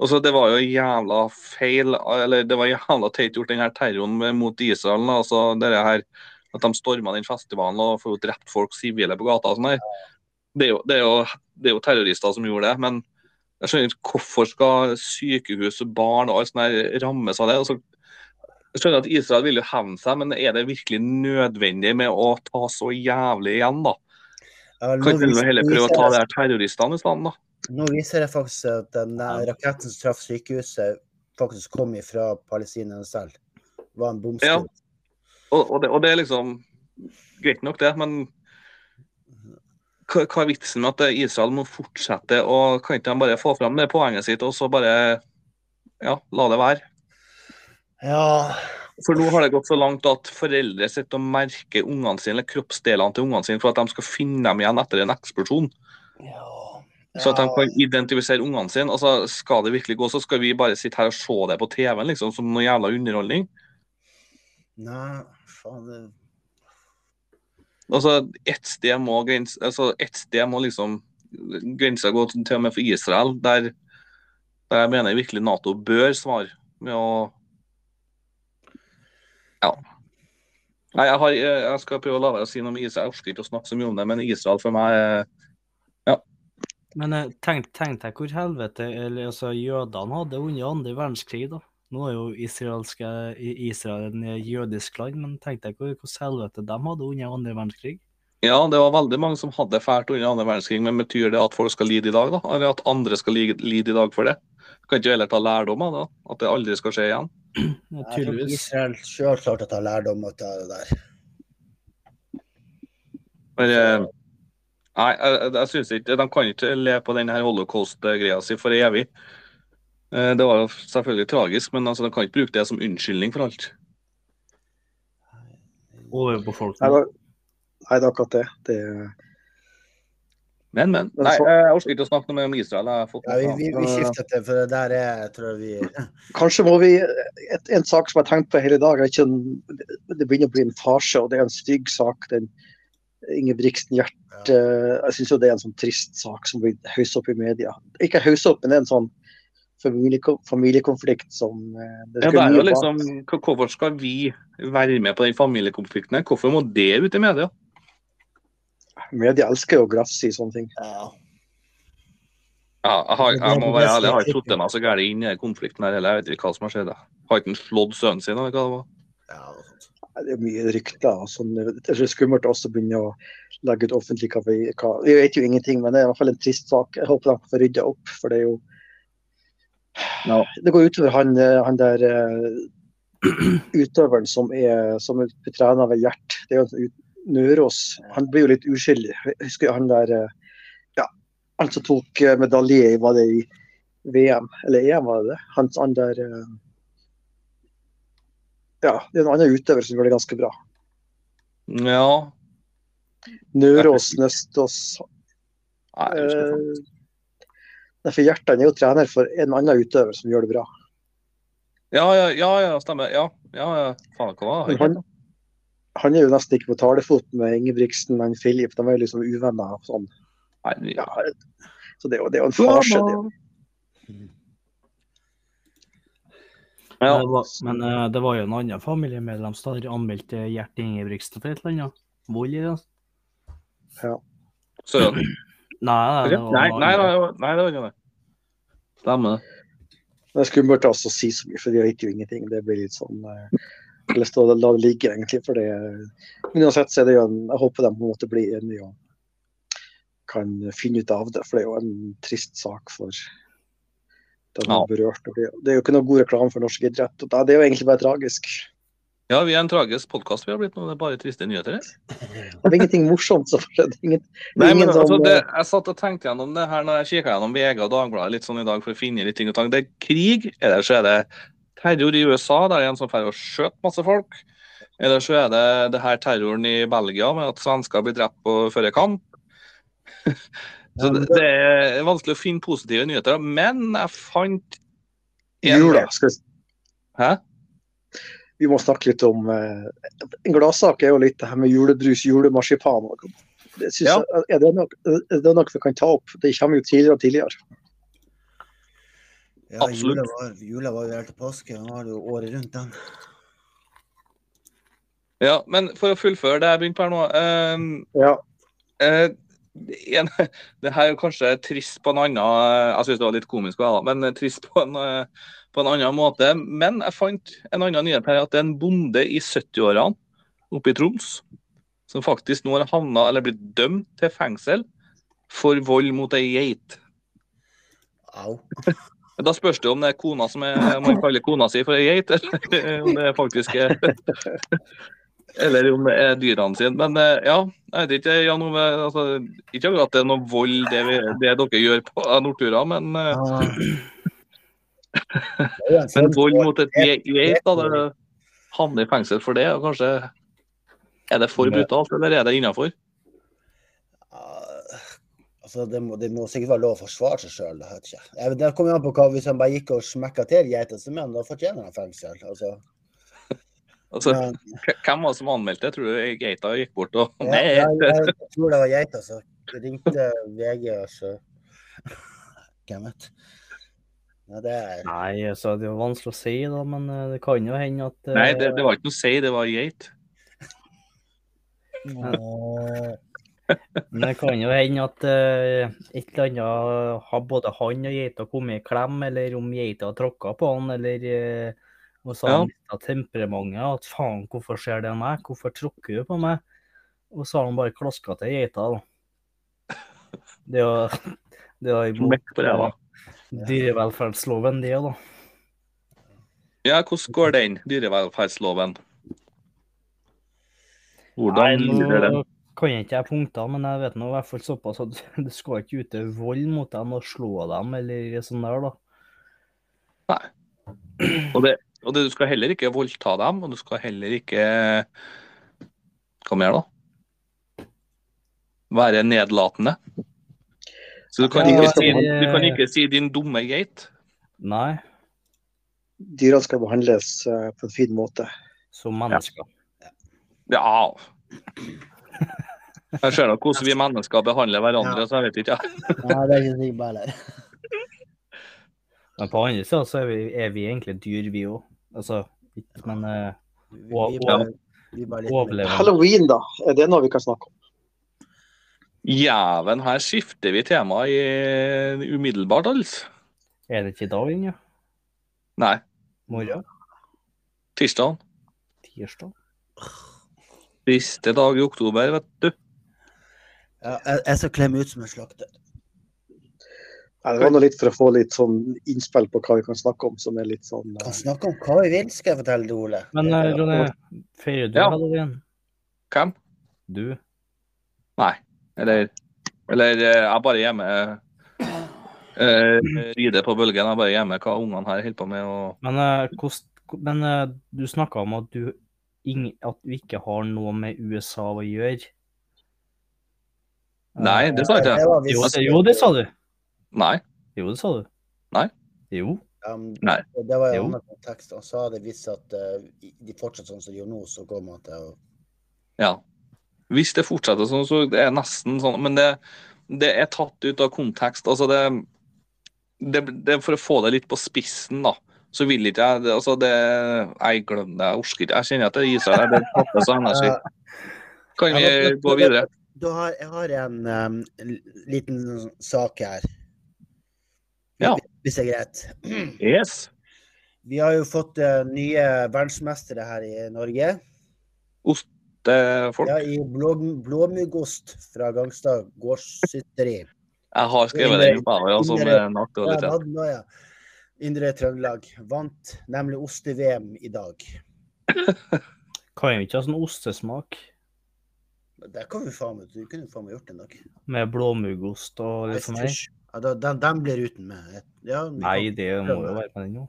A: Altså, det var jo jævla feil, eller det var jævla teit gjort, den her terroren med- mot Israel. da. Altså, det her, at de storma den festivalen og får jo drept folk sivile på gata og sånn her. Det er, jo, det, er jo, det er jo terrorister som gjorde det, men jeg skjønner ikke hvorfor skal sykehus og barn og alt sånt her rammes av det? Altså, jeg skjønner at Israel vil jo hevne seg, men er det virkelig nødvendig med å ta så jævlig igjen, da?
B: Ja,
A: Kan
B: nå
A: ikke
B: viser-
A: du heller prøve å
B: viser
A: ta
B: det-
A: de her terroristene i stedet, da?
B: Nå viser det faktisk at den der raketten som traff sykehuset, faktisk kom ifra Palestina selv. Det var en
A: Ja.
B: bomskudd.
A: Og, og, det, og det er liksom greit nok, det, men hva, hva er vitsen med at Israel må fortsette, og kan ikke de bare få fram det poenget sitt, og så bare ja, la det være?
B: Ja.
A: For nå har det gått så langt at foreldre sitter og merker ungene sine, eller kroppsdelene til ungene sine for at de skal finne dem igjen etter en eksplosjon.
B: ja.
A: Så at de kan identifisere ungene sine. Altså, Skal det virkelig gå, så skal vi bare sitte her og se det på TV-en liksom, som noe jævla underholdning.
B: Nei, faen. det-
A: Altså, Ett sted må grens, altså, et sted må liksom grensa gå til og med for Israel, der, der jeg mener virkelig Nato bør svare med å Ja. Nei, jeg, har, jeg jeg skal prøve å la være å si noe om Israel. Jeg orker ikke å snakke så mye om det, men Israel for meg er
C: Men eh, tenk, tenk deg hvor helvete eller, altså, jødene hadde under andre verdenskrig, da. Nå er jo israelske, i- Israel en eh, jødisk land, men tenk deg hvor, hvordan helvete de hadde under andre verdenskrig.
A: Ja, det var veldig mange som hadde det fælt under andre verdenskrig, men betyr det at folk skal lide i dag, da? Eller at andre skal lide, lide i dag for det? Kan ikke du heller ta lærdom av det? da? At det aldri skal skje igjen?
C: Ja,
B: Jeg tror
C: Tydeligvis.
B: Israel sjøl klarte å ta lærdom av det der.
A: Men, eh, nei, jeg, jeg- jeg synes ikke De kan ikke le på den her holocaust-greia si for evig. Eh, Det var jo selvfølgelig tragisk, men altså, de kan ikke bruke det som unnskyldning for alt.
D: Nei,
C: Overbefolkning.
D: da- nei, det er akkurat det. det er-
A: Men, men.
D: Men
A: Nei,
D: så-
A: jeg orker ikke å snakke noe mer om Israel. Jeg har fått
B: Ja, vi, vi, vi skifter til, for det der er jeg tror vi
D: Kanskje må vi et, En sak som jeg har tenkt på hele dag, er ikke en, det begynner å bli en farse, og det er en stygg sak. den Ingebrigtsen Gjert
B: ja.
D: eh, Jeg syns jo det er en sånn trist sak som blir haussa opp i media. Ikke haussa opp, men det er en sånn familieko- familiekonflikt som
A: Ja,
D: eh,
A: det
D: skulle
A: er jo
D: mye bak.
A: liksom, hva- Hvorfor skal vi være med på den familiekonflikten? her? Hvorfor må det ut i media?
D: Media elsker jo å grafse i sånne ting.
B: Ja.
A: Ja, jeg, har, jeg må være ærlig, jeg har ikke
B: Nesten.
A: satt meg så gærent inn i den konflikten her heller. Jeg vet ikke hva som har skjedd. jeg. Har ikke han slått sønnen sin, eller hva det var?
B: ja og sånt.
D: Nei, Det er mye rykter og sånn. Jeg tror det er skummelt også å begynne å legge ut offentlig hva vi hva. Vi vet jo ingenting, men det er i hvert fall en trist sak. Jeg håper de får rydda opp, for det er jo
A: Ja.
D: Det går utover han, eh, han der eh, utøveren som er, som er betrenet ved Gjert. Det er jo en ut- Nørås. Han blir jo litt uskyldig. Jeg husker han der eh, Ja, han som tok eh, medalje i Var det i VM, eller EM, var det det? Han, han der eh, Ja, det er en annen utøver som gjør det ganske bra.
A: Ja.
D: Nørås, Nøstås
A: Nei, jeg husker ikke.
D: eh, Nei, for Hjertan er jo trener for en annen utøver som gjør det bra.
A: ja, ja, ja, ja, stemmer. Ja, ja, ja. Faen, hva var
D: Men
A: det?
D: han, han er jo nesten ikke på talefot med Ingebrigtsen og Philip. De er jo liksom uvenner. og Sånn.
A: Nei,
D: Ja, så det er jo, det er jo en farse. Det.
A: ja.
C: Men det var, men eh, det var jo en annen familiemedlem som hadde anmeldt eh, Gjert Ingebrigtsen for et eller annet. Vold i det.
A: Søren.
C: Nei,
A: Nei,
C: det
A: nei,
C: var
A: nei,
C: en
A: nei,
C: annen.
A: nei, det var ikke det. Stemmer det.
D: Men Det er skummelt også å si så mye, for de vet jo ingenting. Det blir litt sånn eh, Jeg har lyst til å la det ligge, egentlig. For det, men uansett så er det jo en Jeg håper de på en måte blir enige og kan finne ut av det. For det er jo en trist sak for de som
A: Ja.
D: er berørt. og Det det er jo ikke noe god reklame for norsk idrett. og da- Det er jo egentlig bare tragisk.
A: Ja, vi er en tragisk podkast vi har blitt nå. Det er bare triste nyheter. her.
D: Det er ingenting morsomt som har skjedd. Ingen,
A: Nei, men
D: ingen som,
A: altså, det,
D: eh,
A: Jeg satt og tenkte gjennom det her når jeg kikka gjennom VG og Dagbladet litt sånn i dag for å finne litt ting og tang. Det er krig, eller så er det terror i USA, der er en som drar og skjøt masse folk. Eller så er det det her terroren i Belgia med at svensker blir drept på- før en kamp. Så det, det er vanskelig å finne positive nyheter, men jeg fant en-
D: Jula. eh, Skal vi
A: Hæ?
D: Vi må snakke litt om eh, En gladsak er jo litt det her med julebrus, julemarsipan. og- Det synes
A: Ja.
D: jeg, er, det nok, er det nok vi kan ta opp? Det kommer jo tidligere og tidligere.
B: Ja,
A: Absolutt.
B: Jula var, jula var jo helt til påske. Nå har du jo året rundt den.
A: Ja, men for å fullføre det jeg begynte på her nå eh,
D: Ja,
A: eh, en, Det her er jo kanskje trist på en annen eh, Jeg syns det var litt komisk, også, da, men trist på en, eh, på en annen måte. Men jeg fant en annen nyhet her, at det er en bonde i 70-årene oppe i Troms som faktisk nå har havna eller blitt dømt til fengsel for vold mot ei geit.
B: Au.
A: Da spørs det om det er kona som er, om man kaller kona si for ei geit, eller om det faktisk er Eller om det er dyrene sine. Men eh, ja, jeg vet ikke Jan Ove, altså, ikke akkurat det er noe vold det, vi, det dere gjør på Nordtura, men, eh,
B: Ah. Det er jo
A: men
B: en form
A: vold
B: for-
A: mot et ge- geit, da, det havner i fengsel for det. og Kanskje er det for brutalt, eller er det innafor?
B: Ah, Altså, det må, det må sikkert være lov å forsvare seg sjøl. Det kommer jo an på hva hvis han bare gikk og smekka til geita, så mener han da fortjener han fengsel. Altså,
A: Altså,
B: men-
A: k- hvem var det som anmeldte? Tror du geita gikk bort og
B: Ja,
A: Nei,
B: jeg, jeg tror det var geita som ringte VG og så Hvem vet? Ja, det er
C: Nei, altså, det er jo vanskelig å si, da, men eh, det kan jo hende at eh,
A: nei det, det var ikke noe å si, det var geit.
C: men det kan jo hende at eh, et eller annet har både han og geita kommet i klem, eller om geita har tråkka på han, eller eh, og så har
A: Ja.
C: han mista temperamentet. At faen, hvorfor skjer det meg? Hvorfor tråkker du på meg? Og så har han bare klaska til geita, da. Det er jo det er jo imot
A: Smekk på ræva.
C: dyrevelferdsloven, det, da.
A: Ja, hvordan går den dyrevelferdsloven?
C: Nei,
A: Hvordan lyder den?
C: nå kan jeg ikke jeg punkter, men jeg vet nå i hvert fall såpass at du skal ikke utøve vold mot dem og slå dem eller sånn der, da.
A: Og, det, og det, du skal heller ikke voldta dem, og du skal heller ikke Hva mer, da? Være nedlatende. Så du kan
C: Ja,
A: ikke si,
C: eller-
A: du kan ikke si 'din dumme geit'.
C: Nei,
D: Dyrene skal behandles eh, på en fin måte.
C: som mennesker.
A: Ja. Jeg ser da hvordan vi mennesker behandler hverandre, så jeg vet ikke.
B: Nei, det er ikke sikkert bare heller.
C: Men på andre sida så er vi, er vi egentlig dyr, vi òg. Altså, ikke- men eh,
B: Vi,
C: Og-
B: vi,
C: og-
B: bare, vi bare litt mer-
C: overlevende.
D: Halloween, da. Er det noe vi kan snakke om?
A: Jæven, her skifter vi tema i, umiddelbart, altså.
C: Er det ikke i dag ennå?
A: Nei,
C: Morgen?
A: tirsdag.
C: Tirsdag?
A: Siste dag i oktober, vet du.
B: Ja, jeg, jeg skal klemme ut som en slakter.
D: Nei, Det var nå litt for å få litt sånn innspill på hva vi kan snakke om, som er litt sånn eh,
B: Kan snakke om hva vi vil, skal jeg fortelle deg, Ole.
C: Men eh, Ronny, feirer du
A: Ja.
C: halloween?
A: Hvem?
C: Du?
A: Eller, eller eh, jeg bare hjemme eh, Rider på bølgen. Jeg bare hjemme hva ungene her holder på med. Og...
C: Men, eh, kost, men eh, du snakka om at, du, ing, at vi ikke har noe med USA å gjøre. Eh,
A: Nei, det sa jeg ikke.
B: var
C: Jo, det- jo, det sa du.
A: Nei.
C: Jo, det sa du.
A: Nei.
C: Jo.
B: Um,
A: Nei.
B: Det var jo
C: Jo.
B: annen kontekst. Han sa det hvis at eh, de fortsetter sånn som de gjør nå, så kommer han til å
A: Ja. Hvis det fortsetter sånn, så det er nesten sånn Men det, det er tatt ut av kontekst. Altså, det, det, det For å få det litt på spissen, da, så vil ikke jeg det, Altså, det Jeg glemmer det. Jeg orker ikke. Jeg kjenner at det gir seg. Det tapper seg energi. Kan vi gå videre?
B: Da har, jeg har en um, l- liten sånn sak her.
A: Ja.
B: Hvis det er greit.
A: Yes.
B: Vi har jo fått eh, nye verdensmestere her i Norge.
A: Det er folk.
B: Ja, I blå, blåmuggost fra Gangstad gårdssytteri.
A: Jeg har skrevet den opp, jeg, altså, med en
B: Ja,
A: aktualitet.
B: Vadden og ja. Indre Trøndelag vant nemlig oste-VM i dag.
C: Kan jo ikke ha sånn ostesmak
B: Der kan vi faen meg Du kunne faen meg gjort det nok.
C: med blåmuggost og det for meg.
B: Ja, da, den, den blir uten med. Ja, vi
C: Nei,
B: kan-
C: det må jo være på den òg.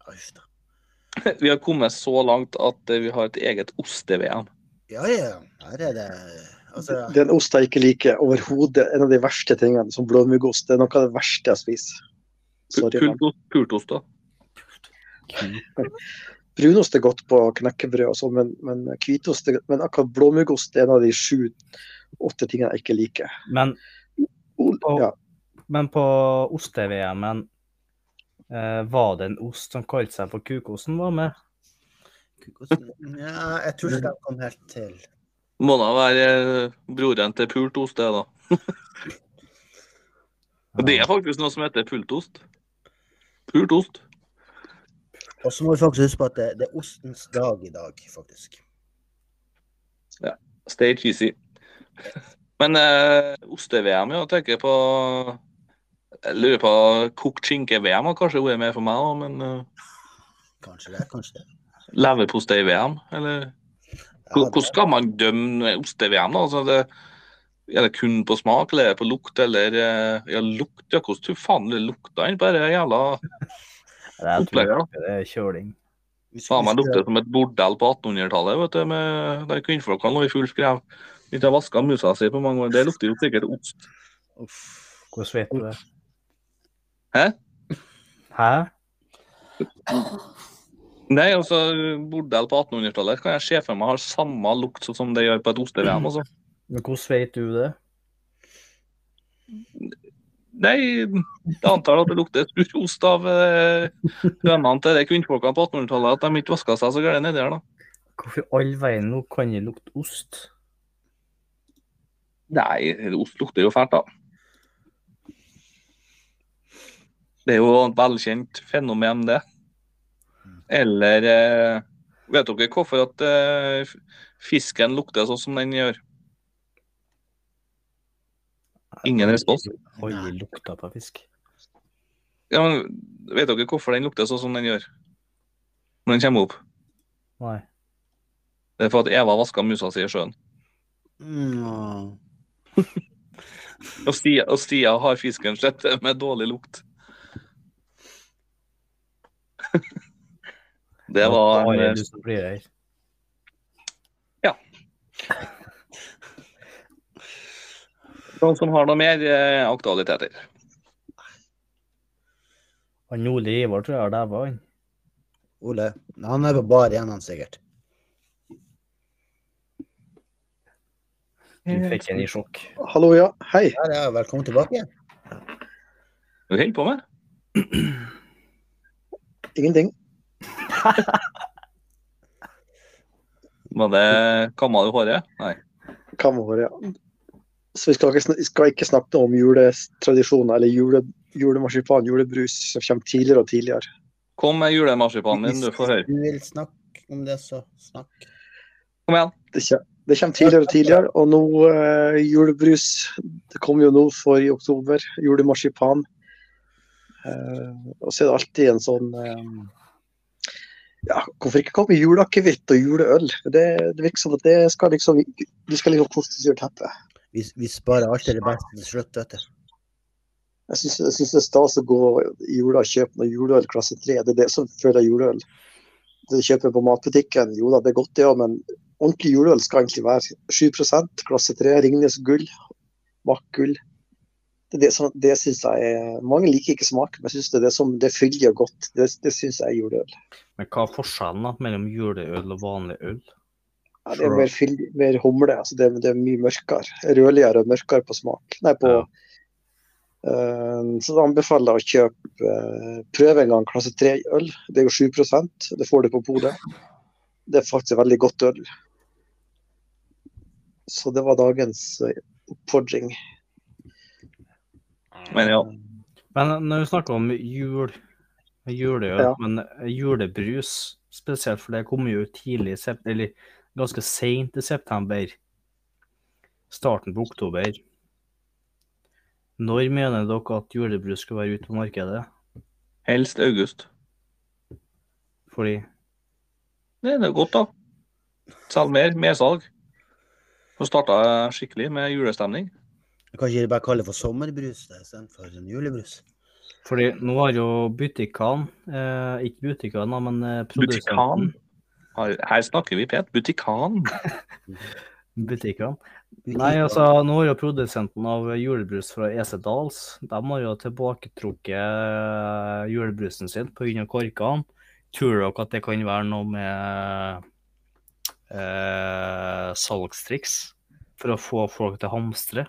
B: Ja, uff da.
A: Vi har kommet så langt at eh, vi har et eget oste-VM.
B: Ja, ja. Her er det Altså,
D: Det er en ost jeg ikke liker overhodet. En av de verste tingene, som blåmuggost. Det er noe av det verste jeg spiser.
A: Pu-
D: Sorry.
A: Pult- Pultost, da.
D: Brunost er godt på knekkebrød, og sånn, men, men hvitost er, Men akkurat blåmuggost er en av de sju-åtte tingene jeg ikke liker.
C: Men,
D: O-
C: Og-
D: Ja,
C: men på oste-VM-en eh, var det en ost som kalte seg for kukosten, var med?
B: Ja, jeg tror ikke de kom helt til.
A: Må da være eh, broren til pultost, det, da. Og det er faktisk noe som heter pultost. Pultost.
B: Og så må vi faktisk huske på at det, det er ostens dag i dag, faktisk.
A: Stay cheesy. Men eh, oste-VM, ja. Tenker på Jeg lurer på Kokt skinke-VM har kanskje vært med for meg òg, men eh,
B: Kanskje det, kanskje det.
A: leverpostei-VM, eller
B: Ja,
A: Hvor- Hvordan
B: det-
A: skal man dømme oste-VM, da? Altså, det, er det kun på smak, eller er det på lukt, eller eh, Ja, lukt, ja, hvordan tror faen det lukta den bare jævla
C: Jeg tror
A: opplegget? da?
C: ikke det er kjøling.
B: vi skulle
A: Faen meg
B: huske-
A: lukter som et bordell på 1800-tallet, vet du, med der kvinnfolkene lå i full skrev. Ikke har vaska musa si på mange år. Det lukter jo sikkert ost.
B: Uff.
C: Hvordan vet du det?
A: Hæ?
C: Hæ?
A: Nei, altså, bordell på 1800-tallet kan jeg se for meg har samme lukt som- som det gjør på et oste-VM. Altså.
C: Men hvordan vet du det?
A: Nei, jeg antar at det lukter sur ost av eh, hønene til de kvinnfolkene på 1800-tallet, at de ikke vaska seg så gærent nedi her, da.
C: Hvorfor i all verden nå kan det lukte ost?
A: Nei, ost lukter jo fælt, da. Det er jo et velkjent fenomen, det. Eller eh, Vet dere hvorfor at eh, f- fisken lukter sånn som den gjør? Ingen respons.
C: Har aldri lukta på fisk.
A: Ja, men Vet dere hvorfor den lukter sånn som den gjør? Når den kommer opp?
C: Nei.
A: Det er for at Eva vaska musa si i sjøen.
B: Mm.
A: Og Stia, og Stia har fisken slett med dårlig lukt. Det var en
C: Bare
A: eh,
C: du som blir her.
A: Noen Sånn som har noe mer eh, aktualiteter?
C: Han Ole Ivar tror jeg har dæva, han.
B: Ole, han er på bar igjen, han sikkert.
C: Du fikk han i sjokk.
D: hallo, ja. Hei.
B: Ja, ja, velkommen tilbake.
A: Du holder på med?
D: Ingenting.
A: Var det kamma du håret? Nei.
D: Kammerhår, ja. Så vi skal ikke, sn- skal ikke snakke om juletradisjoner eller jule, julemarsipan, julebrus, som kommer tidligere og tidligere.
A: Kom med julemarsipanen
B: Hvis
A: din, du får høre.
B: du vil snakke om det, så snakk.
A: Kom igjen.
D: Det kommer, det kommer tidligere og tidligere, og nå eh, julebrus. Det kom jo nå for i oktober. Julemarsipan. Eh, og så er det alltid en sånn eh, ja, Hvorfor ikke komme med juleakevitt og juleøl? Det, det virker som at det skal liksom De skal liksom kostes under teppet.
B: Vi, vi sparer alltid det beste til slutt, vet du.
D: Jeg syns, jeg syns det er stas å gå i jula og kjøpe noe juleøl klasse 3. Det er det som føler jeg juleøl. Det du kjøper på matbutikken, jo da, det er godt det òg, men ordentlig juleøl skal egentlig være 7 klasse 3, Ringnes gull, Mack gull. Det, er det, som, det synes jeg er, Mange liker ikke smaken, men jeg syns det, er det, som- det fyller godt. Det, det syns jeg er juleøl.
C: Men hva er forskjellen da, mellom juleøl og vanlig øl?
D: Ja, det er mer, fyll, mer humle. Altså det, er- det er mye mørkere. Rødligere og mørkere på smak. Nei, på,
C: Ja.
D: Eh, så da anbefaler jeg å kjøpe eh, Prøve en gang klasse 3-øl. Det er jo 7 det får du på polet. Det er faktisk veldig godt øl. Så det var dagens eh, oppfordring.
A: Men ja,
C: Men når vi snakker om jul, juleøl,
D: Ja.
C: men julebrus spesielt, for det kommer jo tidlig, i sep- eller ganske sent i september, starten på oktober. Når mener dere at julebrus skal være ute på markedet?
A: helst august.
C: Fordi
A: Det det er godt, da. Selg mer. Mersalg. Så starta jeg skikkelig med julestemning.
B: Kanskje de bare kaller det for sommerbrus det, istedenfor en julebrus?
C: Fordi nå har jo butikkene, eh, ikke butikkene, da, men eh,
A: Butikan.
C: produsenten
A: Her her snakker vi pent. Butikan.
C: Butikkene. Nei, altså, nå har jo produsenten av julebrus fra E EC Dals, de har jo tilbaketrukket eh, julebrusen sin pga. korkene. Tror dere at det kan være noe med eh, salgstriks for å få folk til å hamstre?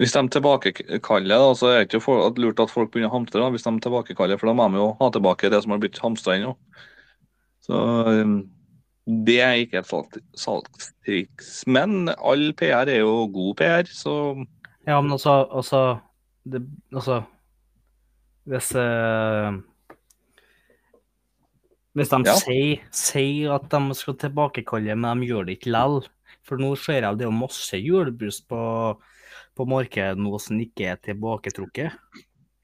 A: Hvis de tilbakekaller, da, så er det ikke for, at lurt at folk begynner å hamstre. da, hvis de tilbakekaller, For da må de jo ha tilbake det som har blitt hamstra inn. da. Så um, det er ikke et salg- salgstriks. Men all PR er jo god PR, så
C: Ja, men altså, altså, det, altså Hvis eh, Hvis de
A: Ja.
C: sier, sier at de skal tilbakekalle, men de gjør det ikke lell. For nå ser jeg det er jo masse julebrus på, på markedet nå som ikke er tilbaketrukket.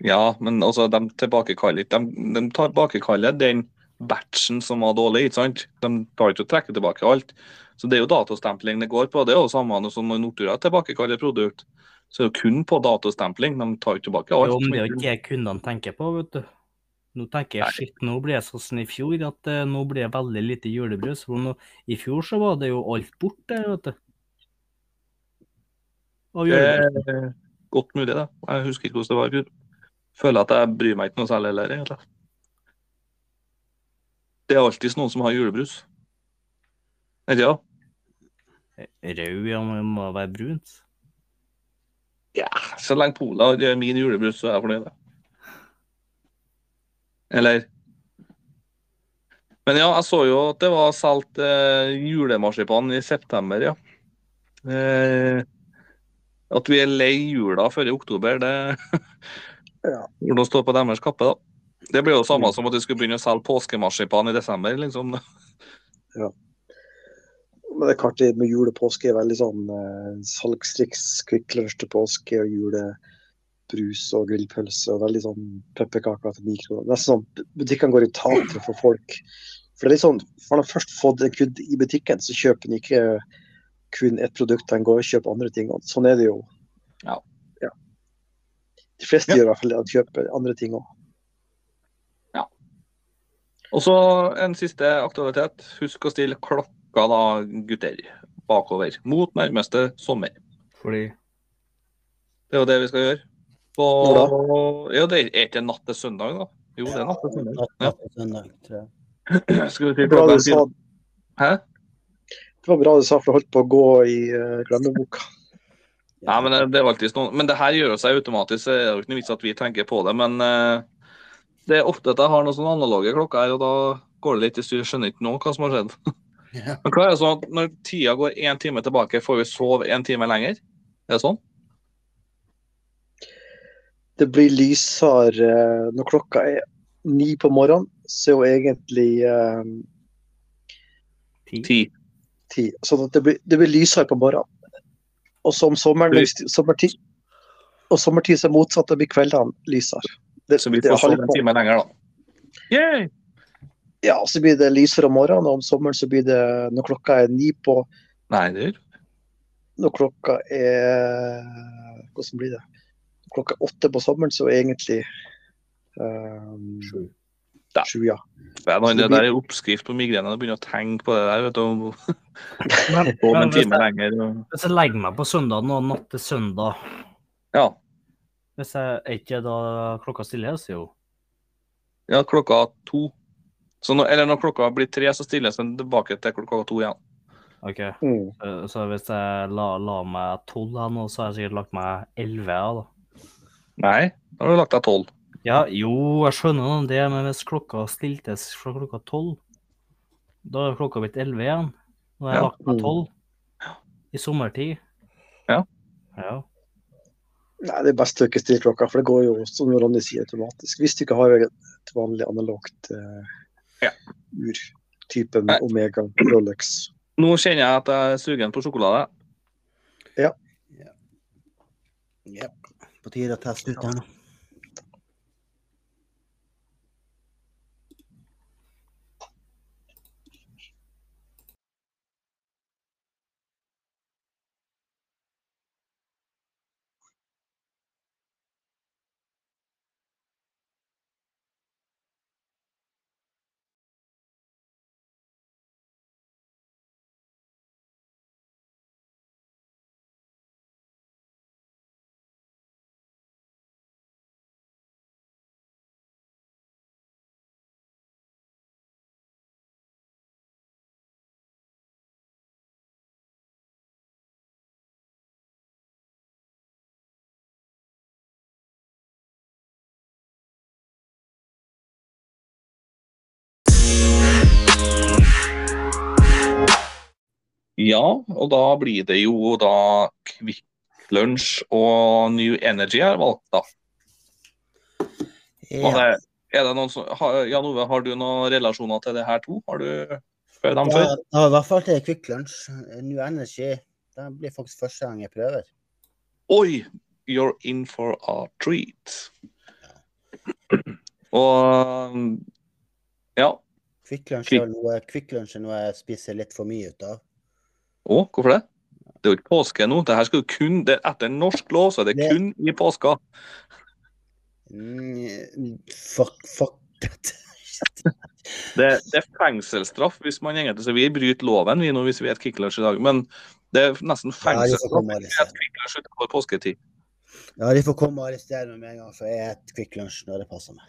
A: ja. Men altså, de tilbakekaller ikke. De, de tilbakekaller den batchen som var dårlig, ikke sant? De tar ikke og trekker tilbake alt. Så det er jo datostempling det går på. Det er jo samme som når Nortura tilbakekaller produkt. Så det er jo kun på datostempling. De tar ikke tilbake
C: Det er
A: alt.
C: jo om det er jo ikke det kundene tenker på, vet du. Nå tenker jeg shit, nå ble det sånn som i fjor, at eh, nå ble det veldig lite julebrus. For nå, I fjor så var det jo alt borte, vet du. Av
A: Det
C: julebrus.
A: er godt mulig, det. Jeg husker ikke hvordan det var i fjor. Føler at jeg bryr meg ikke noe særlig heller, egentlig. Det er alltid noen som har julebrus. Vet ikke, ja.
C: Rød, ja, men det må være brunt.
A: Så lenge Pola gjør min julebrus, så er jeg fornøyd. jeg. Eller Men ja, jeg så jo at det var solgt eh, julemarsipan i september, ja. Eh, at vi er lei jula før i oktober, det
D: Ja.
A: Hvordan står på deres kappe, da? Det blir jo samme som at vi skulle begynne å selge påskemarsipan i desember, liksom.
D: Men det er artig med jul og påske. er Veldig sånn eh, salgstriks, Kvikk Lunsj til påske og julebrus og grillpølse. Og veldig sånn pepperkaker til ni kroner. Nesten sånn butikkene går i tak for å få folk. For det er litt sånn, har de først fått en kunde i butikken, så kjøper de ikke kun ett produkt, de går og kjøper andre ting. Og sånn er det jo.
A: Ja.
D: Ja. De fleste
A: Ja.
D: gjør i hvert fall det, de kjøper andre ting òg.
A: Og så en siste aktualitet. Husk å stille klokka, da, gutter, bakover. Mot nærmeste sommer.
C: Fordi
A: Det er jo det vi skal gjøre. På, ja, det er ikke natt til søndag, da. Jo, det er natt til søndag.
B: Natt- natt til søndag, tror jeg.
A: Skal vi si
D: Bra
A: klokka
D: du sa,
A: Hæ?
D: det var bra du sa, for jeg holdt på å gå i eh, glemmeboka.
A: Nei, men eh, det er alltid noen Men det her gjør seg automatisk, så det er jo ikke noe vits at vi tenker på det. Men eh, det er ofte at jeg har noen sånne analoge klokker her, og da går det litt i styr. Jeg Skjønner ikke nå hva som har skjedd.
B: Ja.
A: Men hva er det sånn at når tida går én time tilbake, får vi sove én time lenger? Er det sånn?
D: det blir lysere eh, når klokka er ni på morgenen, så er jo egentlig eh,
C: ti.
A: Ti.
D: ti. Sånn at det blir, det blir lysere på morgenen. Og så om sommeren, hvis- sommertid, og sommertid så er det motsatt, da blir kveldene lysere. Det,
A: Så vi
D: det er
A: får sove
D: halv-
A: en time lenger, da. Yay!
D: Ja, så blir det lysere om morgenen, og om sommeren så blir det når klokka er ni på
A: Nei, det gjør
D: Når klokka er Hvordan blir det? Når klokka er åtte på sommeren, så er egentlig eh,
C: Sju.
D: sju, ja.
A: Nei,
D: Så det
A: Det
D: blir-
A: der er oppskrift på migrene. Jeg begynner å tenke på det der. vet du, om-
C: Men,
A: Om en
C: men hvis,
A: time
C: jeg,
A: lenger. og-
C: hvis jeg legger meg på søndag nå, natt til søndag
A: Ja.
C: Hvis jeg er ikke da klokka stille, så jo
A: Ja, klokka to. Så nå- eller når klokka blir tre, så stilles den tilbake til klokka to igjen.
C: OK.
D: Mm.
C: Så- Så hvis jeg la, la meg tolv her nå, så har jeg sikkert lagt meg elleve, ja, da.
A: Nei, da har du lagt deg tolv.
C: Ja, jo, jeg skjønner nå det, men hvis klokka stiltes fra klokka tolv, da er klokka blitt elleve igjen. Nå har jeg
A: Ja.
C: lagt meg tolv. I sommertid.
A: Ja.
C: Ja.
D: Nei, det er best å ikke stille klokka, for det går jo som Ronny sier, automatisk. Hvis du ikke har et vanlig analogt eh,
A: Ja.
D: ur, typen
A: Nei.
D: Omega Rolex.
A: Nå kjenner jeg at jeg er sugen på sjokolade.
B: Ja. På tide å teste ut den.
A: Ja, og da blir det jo da Kvikk Lunsj og New Energy jeg har valgt, da. Og
B: Ja.
A: det, er det noen som, har, Jan Ove, har du noen relasjoner til det her to? Har du prøvd dem
B: Ja,
A: før?
B: ja, i hvert fall til Quick Lunch. New Energy. Det blir faktisk første gang jeg prøver.
A: Oi, you're in for a treat. Og ja.
B: Quick Lunch
A: Quick-
B: er noe, Quick Lunch er noe jeg spiser litt for mye ut av.
A: Å, hvorfor det? Det er jo ikke påske nå. Det her skal jo kun, det, etter norsk lov så er det
B: Det-
A: kun i påska.
B: Mm, fuck, fuck that.
A: Det, det er fengselsstraff hvis man egentlig så vi bryter loven vi nå hvis vi er et kicklunch i dag. Men det er nesten
B: Ja, de får
A: fengselsstraff
B: komme og
A: hvis vi er et
B: arrestere-
A: kicklunch utenfor påsketid.
B: ja, de får komme og arrestere meg med en gang, for jeg er et Quick Lunch når det passer meg.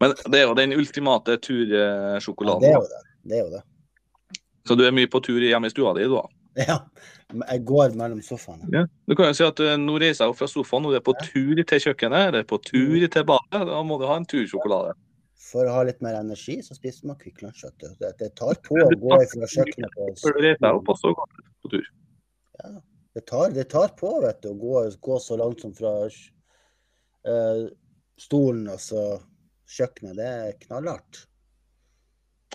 A: Men det er jo den ultimate
B: Ja, det er
A: tursjokoladen.
B: jo det. Det er jo det.
A: så du er mye på tur hjemme i stua di, du da.
B: Ja. Men Jeg går mellom sofaene.
A: Du kan jo si at eh, nå reiser jeg opp fra sofaen, og du er på tur til kjøkkenet eller på tur
B: Mm.
A: til badet. Da må du ha en tursjokolade.
B: For å ha litt mer energi, så spiser man Quick Lunch. vet du. Det, det tar på å gå fra kjøkkenet
A: Før du reiser deg
B: på
A: opp, og så går du på tur.
B: Det tar, det tar på, vet du, å gå, gå så langt som fra eh, stolen og så kjøkkenet. Det er knallhardt.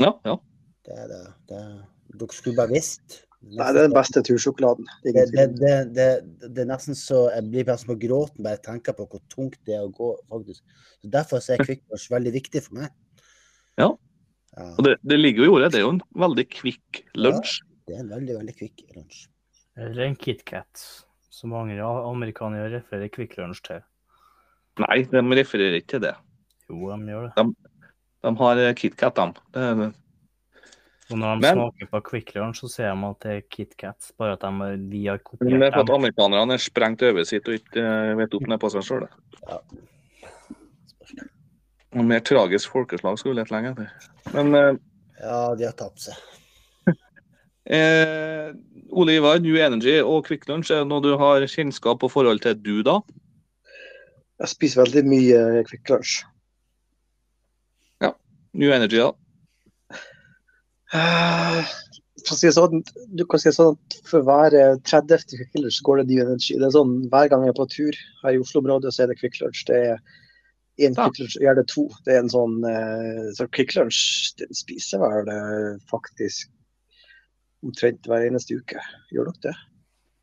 A: Ja, ja.
B: Det er det. det er- dere skulle bare visst.
D: Nei, det er den beste tursjokoladen. Det
B: Det,
D: er ingen
B: det,
D: tvil.
B: det, det, det er nesten så jeg blir nesten på gråten bare jeg tenker på hvor tungt det er å gå, faktisk. Så derfor så er Quick Lunch veldig viktig for meg.
A: Ja.
B: Ja,
A: Og det, det ligger jo i ordet. Det er jo en veldig kvikk lunsj.
B: det er en veldig, veldig kvikk lunsj.
C: Eller Eh, en KitKat, som mange a- amerikanere refererer Quick Lunch til.
A: Nei, de refererer ikke til det.
C: Jo, de gjør det.
A: De har eh, KitKat, de. Det er-
C: Og når de
A: Men-
C: smaker på Quick Lunch, så ser de at det er KitKat, bare at de, vi
A: Men det er
C: har kopiert
A: for at
C: dem.
A: amerikanerne er sprengt øyet sitt og ikke eh, vet opp ned på seg sjøl.
B: Ja.
A: Mer tragisk folkeslag skulle vi lete lenge etter. Men eh,
B: ja, de har tapt seg.
A: Eh, Ole Ivar, New Energy og Quick Lunch, er det noe du har kjennskap og forhold til du, da?
D: Jeg spiser veldig mye Quick Lunch.
A: New Energy, da.
D: Eh, for å si det sånn, du kan si det sånn at for hver eh, 30. Quick Lunch så går det ny energi. Det er sånn, Hver gang jeg er på tur her i Oslo-området, så er det Quick Lunch. Det er én
A: Ja.
D: Quick Lunch, gjerne to. Det er en sånn, eh, så Quick Lunch den spiser jeg vel eh, faktisk omtrent hver eneste uke. Gjør dere det?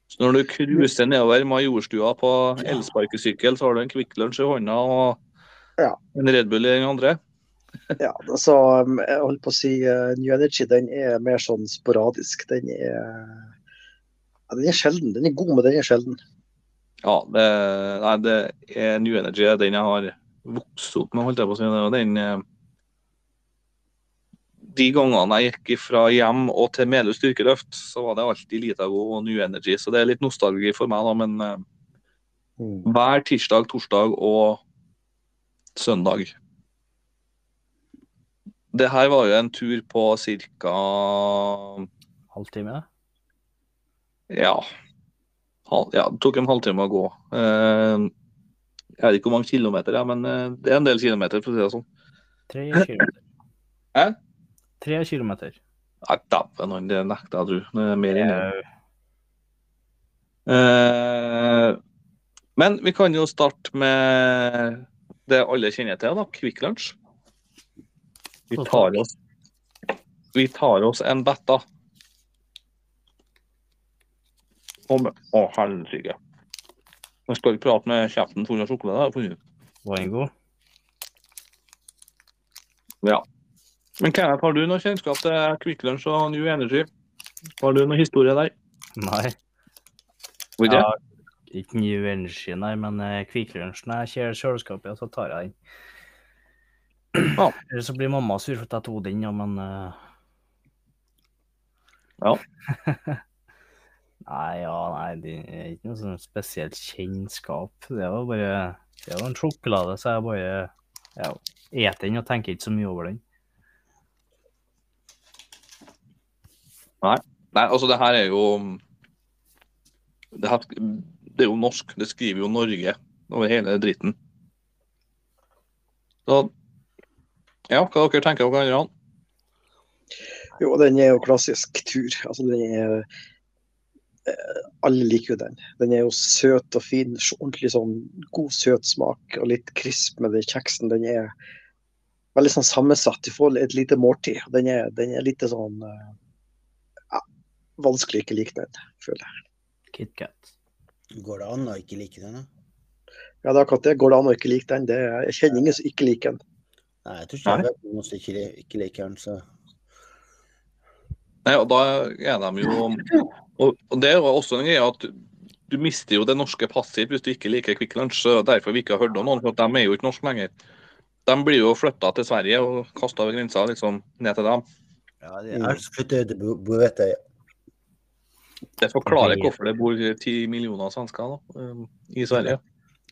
A: Så når du cruiser nedover Majorstua på elsparkesykkel, så har du en Quick Lunch i hånda og
D: Ja.
A: en Red Bull i den andre?
D: Ja, altså, um, jeg holdt på å si eh, New Energy den er mer sånn sporadisk. Den er, ja, den er sjelden. Den er god, men den er sjelden.
A: Ja, det, nei, det er New Energy er den jeg har vokst opp med, holdt jeg på å si. Det var den eh, De gangene jeg gikk fra hjem og til Melhus styrkeløft, så var det alltid Litago og New Energy. Så det er litt nostalgi for meg, da, men eh, Hver tirsdag, torsdag og søndag. Det her var jo en tur på ca.
C: Halvtime.
A: Ja, hal, ja, det tok en halvtime å gå. Eh, jeg vet ikke hvor mange kilometer, ja, men eh, det er en del kilometer. for å si det sånn.
C: Tre kilometer.
A: Hæ?
C: Tre kilometer.
A: Nei, dæven, han, det nekter jeg å tro. Det er mer enn det.
C: Eh,
A: Eh, men vi kan jo starte med det alle kjenner til, da. Kvikk Lunsj. Vi tar oss Vi tar oss en betta. Å, men- å, helsike. Man skal ikke prate med kjeften full av sjokolade. har jeg funnet ut.
C: Var den god?
A: Men Kenneth, har du noe kjennskap til Kvikk Lunsj og New Energy? Har du noe historie der?
C: Nei.
A: Hvor
C: Ja, ikke New Energy, nei, men eh, Kvikk Lunsj. Når jeg ser kjøleskapet, ja, så tar jeg den.
A: Ja.
C: Eller så blir mamma sur for at jeg tok den, ja, men eh,
A: Ja.
C: nei, ja, nei, det er ikke noe sånn spesielt kjennskap. Det var bare Det var en sjokolade, så jeg bare ja, eter den og tenker ikke så mye over den.
A: Nei, altså det her er jo det, her, det er jo norsk. Det skriver jo Norge over hele dritten. Så ja, hva dere tenker dere andre?
D: Jo, den er jo klassisk tur. Altså, den er eh, Alle liker jo den. Den er jo søt og fin. så Ordentlig sånn god, søt smak og litt krisp med den kjeksen. Den er veldig sånn sammensatt. Du får et lite måltid. og Den er, den er litt sånn eh, ja, Vanskelig ikke like den, føler jeg.
C: KitKat.
B: Går det an å ikke like den? da?
D: Ja, det er akkurat det. Går det an å ikke like den? Det er, jeg kjenner ingen som ikke liker den.
B: Nei, jeg tror ikke jeg vet noen som ikke, li- ikke liker den. Så.
A: Nei, og da er de jo Og, og det er jo også en greie at du mister jo det norske passet hvis du ikke liker Kvikk Lunsj. så Derfor vi ikke har hørt om noen, for at de er jo ikke norske lenger. De blir jo flytta til Sverige og kasta over grensa, liksom, ned til dem.
B: Ja, det, jeg har lyst til å flytte ut til Bo- Bovetøy.
A: Det forklarer hvorfor det bor ti millioner svensker da, um, i Sverige.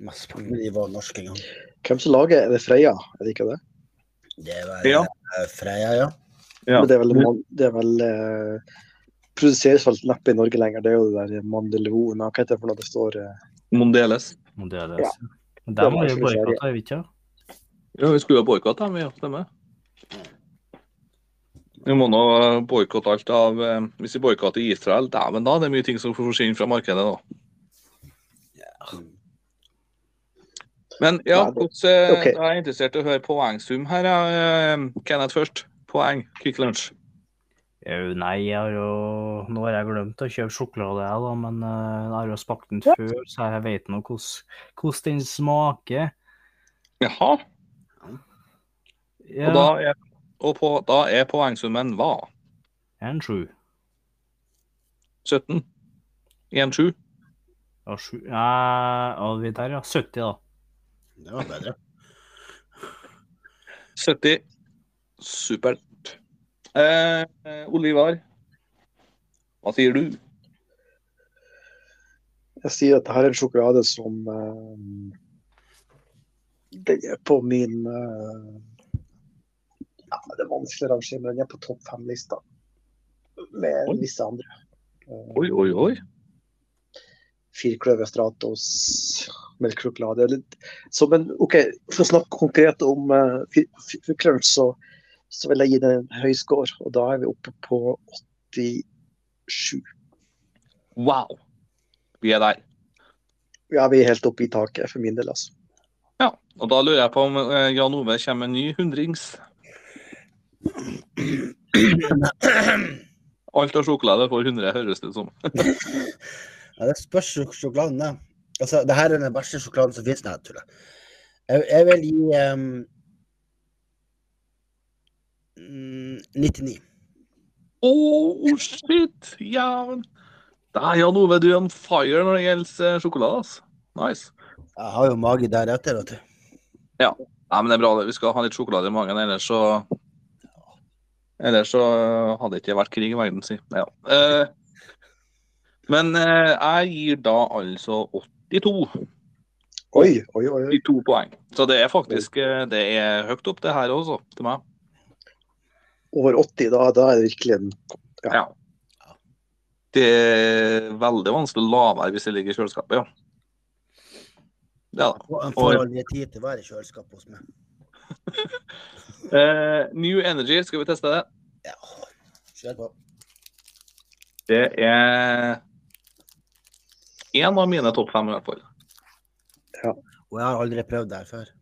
B: Masse penger. De var norske en gang.
D: Hvem som lager er det Freia, er det ikke det?
B: Det var
A: Ja.
B: eh, Freia, ja.
A: Ja.
D: Men det er vel, man- det er vel eh, produseres vel neppe i Norge lenger. Det er jo det der mandelvoen Hva heter det for noe det står eh,
A: Mondeles.
C: Om det er
D: Ja.
C: det. Men dem
D: var
C: har jo
D: ikke Sverige.
C: boikotta, har vi ikke? ja?
A: Ja, vi skulle jo boikotte dem, vi. ja, Stemmer. Vi må nå boikotte alt av eh, Hvis vi boikotter Israel, dæven da, det er mye ting som forsvinner fra markedet da. Men ja,
D: Nei, det-
A: hvordan, eh,
D: ok.
A: jeg er interessert i å høre poengsum her. ja, eh, Kenneth først. Poeng. Kvikk Lunsj.
C: Jau, nei, jeg har jo Nå har jeg glemt å kjøpe sjokolade, jeg, da, men eh, jeg har jo smakt den før, så jeg vet nå hvordan hvordan den smaker.
A: Jaha.
C: Ja,
A: Og, da er, og på, da er poengsummen hva?
C: en sju.
A: 17? 1-7?
C: Ja, sju Nei, ja, vi der, ja. 70, da.
B: Det var bedre.
A: 70. Supert. Eh, eh, Olivar, hva sier du?
D: Jeg sier at dette er en sjokolade som eh, Den er på min eh, ja, Det er vanskelig å rangere, men den er på topp fem-lista med
A: Oi.
D: visse andre. Eh,
A: Oi, oi, oi.
D: firkløver stratos, melkesjokolade eller- Så, men OK, for å snakke konkret om uh, firkløveren, så, så vil jeg gi den en høy score. Og da er vi oppe på 87.
A: Wow. Vi er der.
D: Ja, vi er helt oppe i taket for min del, altså.
A: Ja, og da lurer jeg på om eh, Jan Ove kommer med en ny hundrings. Alt av sjokolade for 100, høres det ut som.
B: Ja, det spørs jo sjokoladen, da. Altså, det her er den verste sjokoladen som finnes, nei, jeg tuller. Jeg, jeg vil gi ehm, mm, 99.
A: Å, shit! Jævn. Nei, Jan Ove, du er on fire når det gjelder eh, sjokolade. ass. Nice.
B: Jeg har jo mage deretter, vet du.
A: Nei, men det er bra. det. Vi skal ha litt sjokolade i magen, ellers så Ellers så eh, hadde det ikke vært krig i verden, si. Ja. Eh, men eh, jeg gir da altså 82.
D: Oi, oi, oi. oi.
A: i to poeng. Så det er faktisk eh, det er høyt opp, det her også, til meg.
D: Over 80, da, da er det virkelig en
A: Ja. Det er veldig vanskelig å la være hvis det ligger i kjøleskapet, ja. Det er det.
B: Og jeg får aldri tid til å være i kjøleskapet hos meg.
A: Eh, New Energy, skal vi teste det?
B: Ja. Kjør på.
A: Det er én av mine topp fem, i hvert fall.
B: Og jeg har aldri prøvd det her før.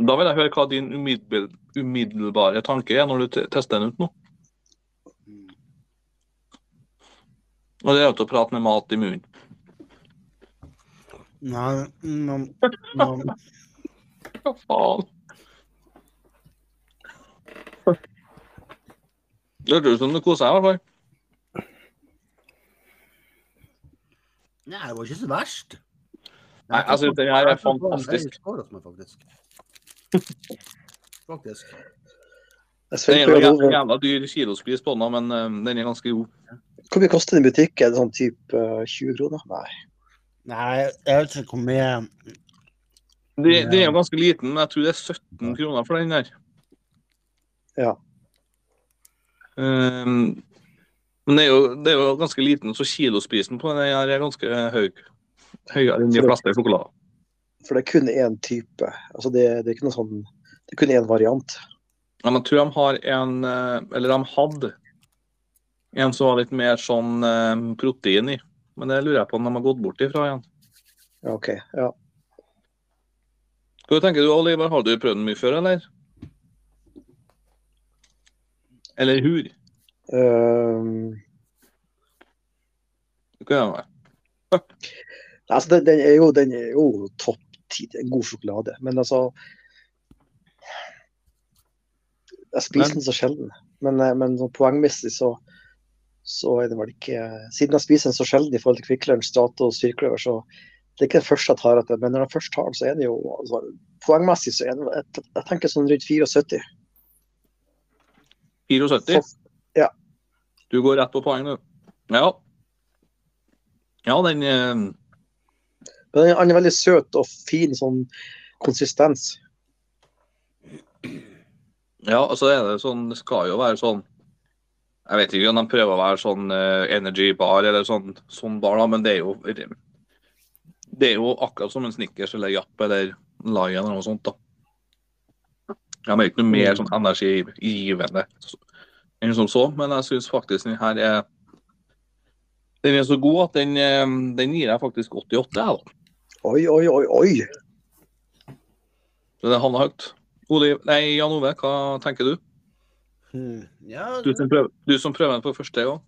A: Da vil jeg høre hva din umiddelbar, umiddelbare tanke er når du te- tester den ut nå. Mm. Og det er jo til å prate med mat i munnen.
B: Nei, man, man,
A: Hva faen? Det hørtes ut som du koser deg, i hvert fall.
B: nei, det var ikke så verst.
A: Nei, jeg synes den her er
B: Jeg tror på en
A: fantastisk.
B: høy score hos meg, faktisk. Faktisk.
D: Jeg
A: Den
D: svelger
A: er jo
D: jo
A: jævla-
D: over.
A: jævla dyr kilospris på den, da, men eh, den er ganske god.
D: Hvor mye koster den i butikk? Er det sånn type eh, 20 kroner? Nei.
B: Nei, jeg vet ikke hvor mye
A: Den den er jo ganske liten, men jeg tror det er 17 kroner for den der.
D: Ja.
A: Ehm, men det er, jo, det er jo ganske liten, så kilosprisen på den her er ganske høy. Høyere enn de fleste sjokolader.
D: For det er kun én type. Altså, det, det er ikke noe sånn Det er kun én variant.
A: Men jeg tror de har en eh, Eller de hadde en som var litt mer sånn eh, protein i. Men det lurer jeg på om de har gått bort ifra igjen.
D: Ja, OK. Ja.
A: Hva tenker du, Oliver? Har du prøvd den mye før, eller? Eller hur?
D: Ehm,
A: Det kan jeg være.
D: Nei, Altså, den, den, er jo, den er jo topp ti. Det er En god sjokolade. Men altså Jeg spiser
A: Men-
D: den så sjelden. Men, eh, men sånn poengmessig så, så er det vel ikke Siden jeg spiser den så sjelden i forhold til Kvikk Lunsj, Strato og Styrkløver, så det er ikke det første jeg tar etter. Men når jeg først tar den, så er den jo altså, Poengmessig så er den jeg, jeg tenker sånn rundt 74.
A: 74?
D: Ja.
A: Du går rett på poeng, du. Ja. Ja, den eh,
D: Men den er- den er veldig søt og fin sånn konsistens.
A: Ja, altså det er det sånn Det skal jo være sånn Jeg vet ikke om de prøver å være sånn eh, energy bar eller sånn, sånn bar, da, men det er jo Det er jo akkurat som en Snickers eller Japp eller Lion eller noe sånt, da. De er ikke noe mer sånn energigivende enn som så, men jeg syns faktisk den her er Den er så god at den, eh, den gir jeg faktisk 88, jeg, da.
D: Oi, oi, oi, oi!
A: Så det havner høyt. Ole, nei, Jan Ove, hva tenker du?
B: Hmm. Ja,
A: Du som prøver, du som prøver den for første gang.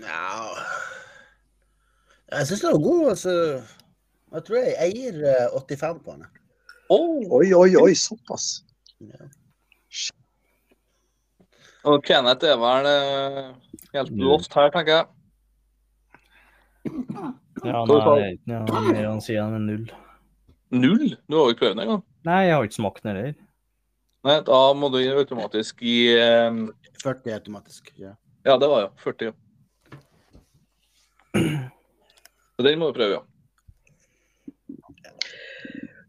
B: Nja Jeg syns den var god, altså. Jeg tror jeg eier eh, 85 på den.
A: Oh.
D: Oi, oi, oi, såpass.
A: Og Kenneth er vel eh, helt
C: Mm.
A: lost her, tenker jeg.
C: Ja,
A: Skal vi ta-
C: nei, jeg vet ikke noe mer han sier enn en null.
A: Null? Du har jo ikke prøvd den engang.
C: Nei, jeg har ikke smakt den heller.
A: Nei, Da må du automatisk gi eh,
B: 40 automatisk. Ja.
A: Ja, det var jo 40. Så den må du prøve, ja.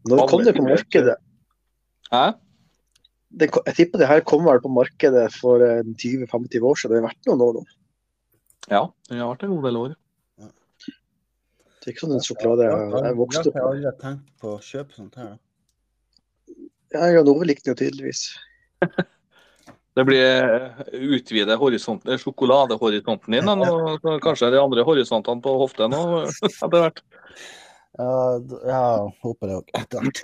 D: Når kom det på markedet?
A: Hæ?
D: det, ko- jeg tipper det her kom vel på markedet for eh, 20-25 år siden. Det har vært noen år nå.
A: Ja, den har vært en god del år.
D: Det er ikke sånn en sjokolade jeg, jeg vokste opp
B: Jeg
D: med.
B: har aldri tenkt på å kjøpe sånt her. da.
D: Ja, Jan Ove likte den jo tydeligvis.
A: Det blir eh, utvide horisonten, eh, sjokoladehorisonten din, da, nå, så kanskje de andre horisontene på hoften òg etter hvert.
B: Ja, d- ja, håper det òg. Etter hvert.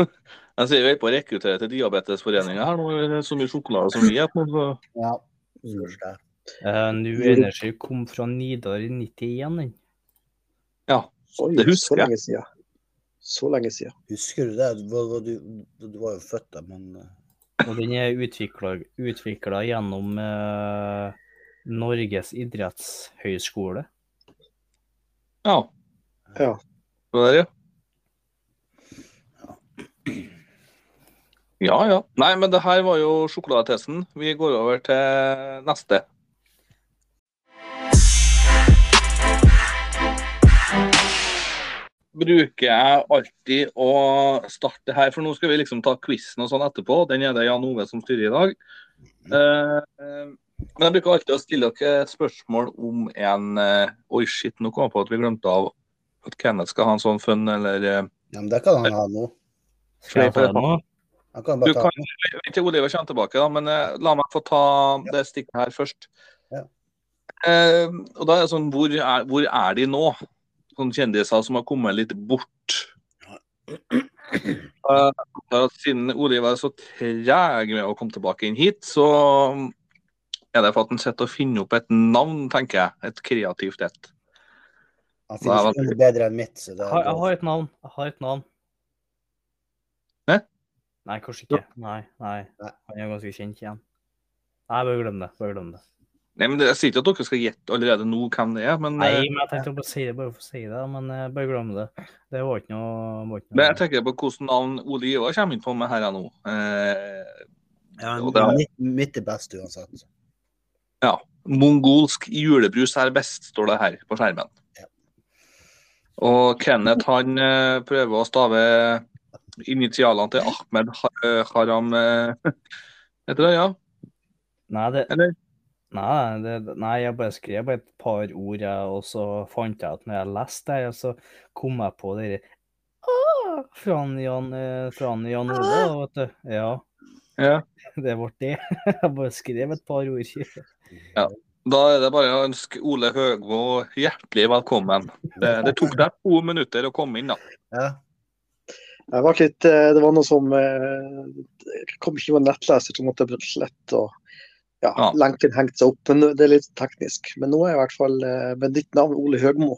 A: Altså, Jeg sier vi er på å rekruttere til Diabetesforeningen her nå, det er så mye sjokolade som vi spiser. Så...
B: Ja. Spørs det.
C: Uh, New Energy kom fra Nidar i 91, den.
D: Oi,
A: Det
D: så
A: husker jeg.
D: lenge siden. Så lenge siden.
B: Husker du det? Du var, du, du var jo født da, men eh,
C: Og den er utvikla gjennom eh, Norges idrettshøyskole.
A: Ja.
D: Ja.
A: Det der, ja. Ja, ja. Nei, men det her var jo sjokoladetesten. Vi går over til neste. Bruker jeg alltid å starte her, for nå skal vi liksom ta quizen og sånn etterpå. Den er det Jan Ove som styrer i dag. Eh, eh, men jeg bruker alltid å stille dere spørsmål om en eh, Oi, shit, nå kom jeg på at vi glemte av at Kenneth skal ha en sånn fun, eller eh,
B: ja, men det kan han ha nå.
C: Skal jeg få den nå?
B: Han
A: Du
B: kan bare ta
A: kan ikke Oliver kommer tilbake, da, men eh, la meg få ta det stikket her først.
B: Ja.
A: Eh, og da er det sånn Hvor er, hvor er de nå? Sånne kjendiser som har kommet litt bort. Eh, da, siden Oliver er så treg med å komme tilbake inn hit, så er det for at han sitter og finner opp et navn, tenker jeg. Et kreativt et. Nei,
B: Han finnes
A: men-
B: noe bedre enn mitt. Så det
C: Jeg
B: er
C: har, jeg
B: greit.
C: har et navn. Jeg har et navn.
A: Hæ?
C: Nei, kanskje ikke. Nei, nei.
B: Nei.
C: Han er ganske kjent igjen. Nei, bare glem det. Bare glem det.
A: Nei, men det, Jeg sier ikke at dere skal gjette allerede nå hvem det er, men,
C: Nei,
A: eh,
C: men jeg tenkte å bare si det bare for å si det, men eh, bare glem det. Det var ikke noe, var ikke
A: men jeg
C: noe.
A: tenker på hvilket navn Ole Ivar kommer inn på med her jeg nå. Eh,
B: Ja,
A: Og det er-
B: mitt, mitt er best uansett.
A: Mongolsk julebrus er best, står det her på skjermen.
B: Ja.
A: Og Kenneth han eh, prøver å stave initialene til Ahmed Ha- eh, Haram eh, Heter det, ja?
C: Nei, det,
A: Eller?
C: Nei, det, det- nei, jeg bare skrev bare et par ord, jeg, og så fant jeg at når jeg leste det, så kom jeg på det der Å, Ah! Fra han Jan, eh, fra han Jan Ole,
B: Ah!
C: da, vet du. Ja,
A: Ja.
C: det ble det. Jeg bare skrev et par ord.
A: Da er det bare å ønske Ole Høgmo hjertelig velkommen. Det, det tok deg to minutter å komme inn, da.
B: Ja.
D: Jeg ble litt, eh, det var noe som eh, det kom ikke med nettleser, så måtte jeg slette og ja,
A: Ja.
D: lenken hengte seg opp. Men det er litt teknisk. Men nå er jeg i hvert fall eh, med nytt navn Ole Høgmo.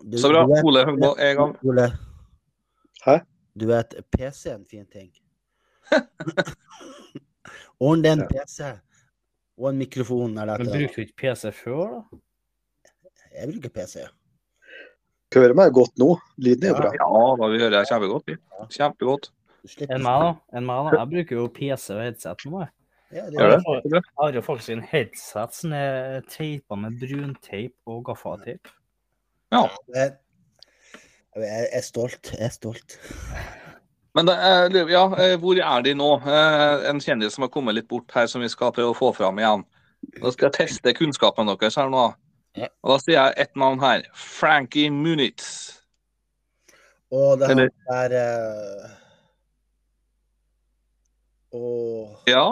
B: Du-
A: Så bra.
B: du vet-
A: Ole Høgmo er i gang.
B: Ole.
D: Hæ?
B: Du vet, PC er en fin ting. Ordn deg en
D: Ja.
B: PC og en mikrofon eller
C: Men
B: et eller annet.
C: brukte du ikke PC før, da?
B: Jeg bruker PC.
D: Hører meg godt nå. Lyden er jo bra.
A: Ja, da vi hører deg kjempegodt. vi. Kjempegodt.
B: Du slipper
C: Enn meg, da. Enn meg, da. Jeg bruker jo PC og headset nå, jeg.
B: Ja, det
A: Gjør
B: er
A: det?
B: det.
C: Jeg har jo faktisk en headset som er teipa med brunteip og gaffateip.
B: Jeg, jeg er stolt. Jeg er stolt.
A: Men det er, ja, eh, hvor er de nå? Eh, En kjendis som har kommet litt bort her, som vi skal prøve å få fram igjen. Da skal jeg teste kunnskapen deres her nå.
B: Ja.
A: Og da sier jeg ett navn her. Frankie Munitz.
B: Og det her
A: Eller-
B: er eh, Og
A: Ja,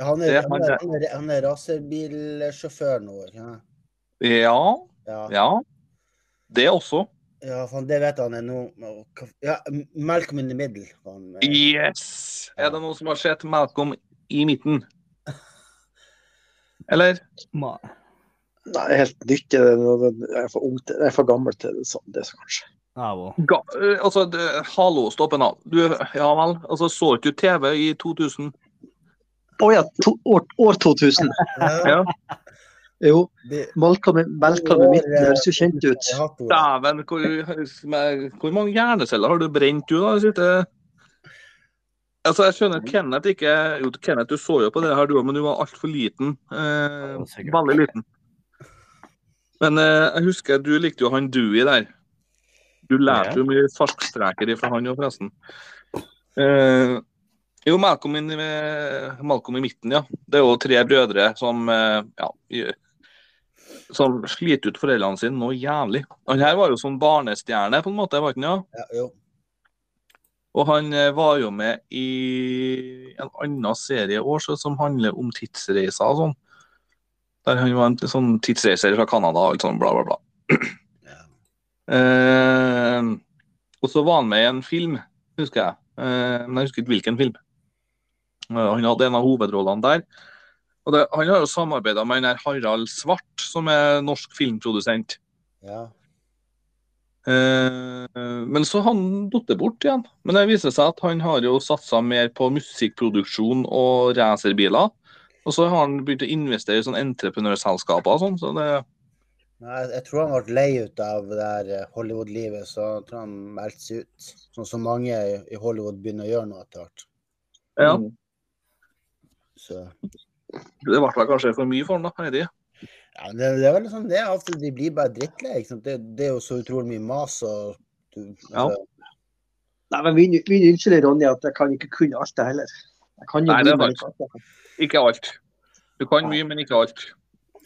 B: han er,
A: Det er
B: han
A: han,
B: er,
A: det.
B: han er, han er racerbilsjåfør nå, ikke sant?
A: ja,
B: Ja.
A: ja. Det også.
B: Ja, faen, det vet han er nå. Å, hva- Ja, M- Malcolm in the middle. var Han, eh.
A: Yes! Er det noen som har sett Malcolm i midten? Eller?
C: Ma-
D: Nei, helt nytt. er det noe- Jeg er for ung til Jeg er for gammel til det, så, det så kanskje.
C: Jeg òg.
A: Ga, eh, altså, det, hallo, stopp en av. Du, ja vel. Altså, så ikke du TV i 2000?
D: Å ja, to, år, år 2000.
B: Ja,
A: Ja.
D: Jo,
B: det-
D: Malcolm Malcolm i midten høres jo kjent ut.
B: Jeg har hatt
A: Dæven,
B: ordet.
A: hvor, hvor mange hjerneceller har du brent, du, da? de siste- Altså, jeg skjønner at Kenneth ikke Jo, Kenneth, du så jo på det her, du òg, men du var altfor liten. Eh,
C: Ja, sikkert.
A: veldig liten. Men eh, jeg husker du likte jo han Dewey der. Du lærte jo mye fartstreker ifra han òg, forresten. Eh, jo, Malcolm, inn i- Malcolm i midten, ja. Det er jo tre brødre som eh, ja, gjør- som sliter ut foreldrene sine noe jævlig. Han her var jo som barnestjerne, på en måte, var ikke han? Ja?
B: Ja, jo.
A: Og han eh, var jo med i en annen serie i år så- som handler om tidsreiser og sånn. Der han var en sånn tidsreiser fra Canada og alt sånn, bla, bla, bla.
B: Ja.
A: Eh, og så var han med i en film, husker jeg. Eh, men jeg husker ikke hvilken film. Eh, han hadde en av hovedrollene der. Og det, han har jo samarbeida med han der Harald Svart, som er norsk filmprodusent.
B: Ja.
A: Eh, men så har han datt bort igjen. Men det viser seg at han har jo satsa mer på musikkproduksjon og racerbiler. Og så har han begynt å investere i sånne entreprenørselskaper og sånn. Så det,
B: Nei, jeg- jeg tror han ble lei ut av det her eh, Hollywood-livet, så jeg tror han meldte seg ut. Sånn som mange i- i Hollywood begynner å gjøre nå etter hvert.
A: ja,
D: Mm.
B: Så
A: mm, det ble vel kanskje for mye for han da, Heidi.
B: ja, men det, det er vel sånn det er. Av og til de blir bare drittlei. ikke sant? Det, det er jo så utrolig mye mas og du,
A: Ja.
B: altså,
D: Nei, men min, min unnskyld, Ronny, at jeg kan ikke kunne alt det heller. Jeg kan jo
A: Nei, det er
D: bli med litt alt det.
A: Ikke alt. Du kan mye, men ikke alt.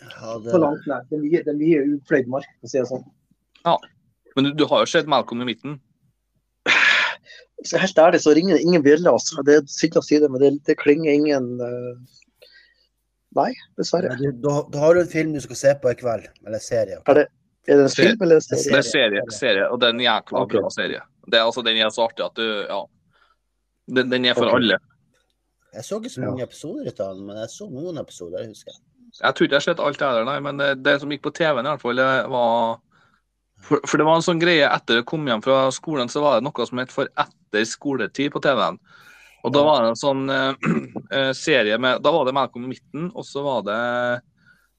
B: ja, det,
D: på langt nær. Det er mye, det er mye upløyd mark, for å si det sånn.
A: Men du, du har jo sett Malcolm i midten.
D: Så helt ærlig så ringer det ingen bjeller. Altså. Det er synd å si det, men det, det klinger ingen eh, Nei,
B: Men
D: dessverre.
B: du, da, da har du en film du skal se på i kveld, eller serie.
D: Er det, er det en
A: Ser-
D: film eller en serie?
A: Det er serie, serie og den er en jækla
D: Ok.
A: bra serie. Det er altså, Den er så artig at du Ja. Den, den er for
D: Ok.
A: alle.
B: Jeg så ikke så
D: Ja.
B: mange episoder ut av den, men jeg så noen episoder, jeg husker.
A: Jeg tror ikke jeg har sett alt det der, nei, men eh, det som gikk på TV-en i hvert fall, det var for, for det var en sånn greie etter jeg kom hjem fra skolen, så var det noe som het For etter skoletid på TV-en. Og da var det en sånn eh, eh, serie med Da var det Malcolm i midten, og så var det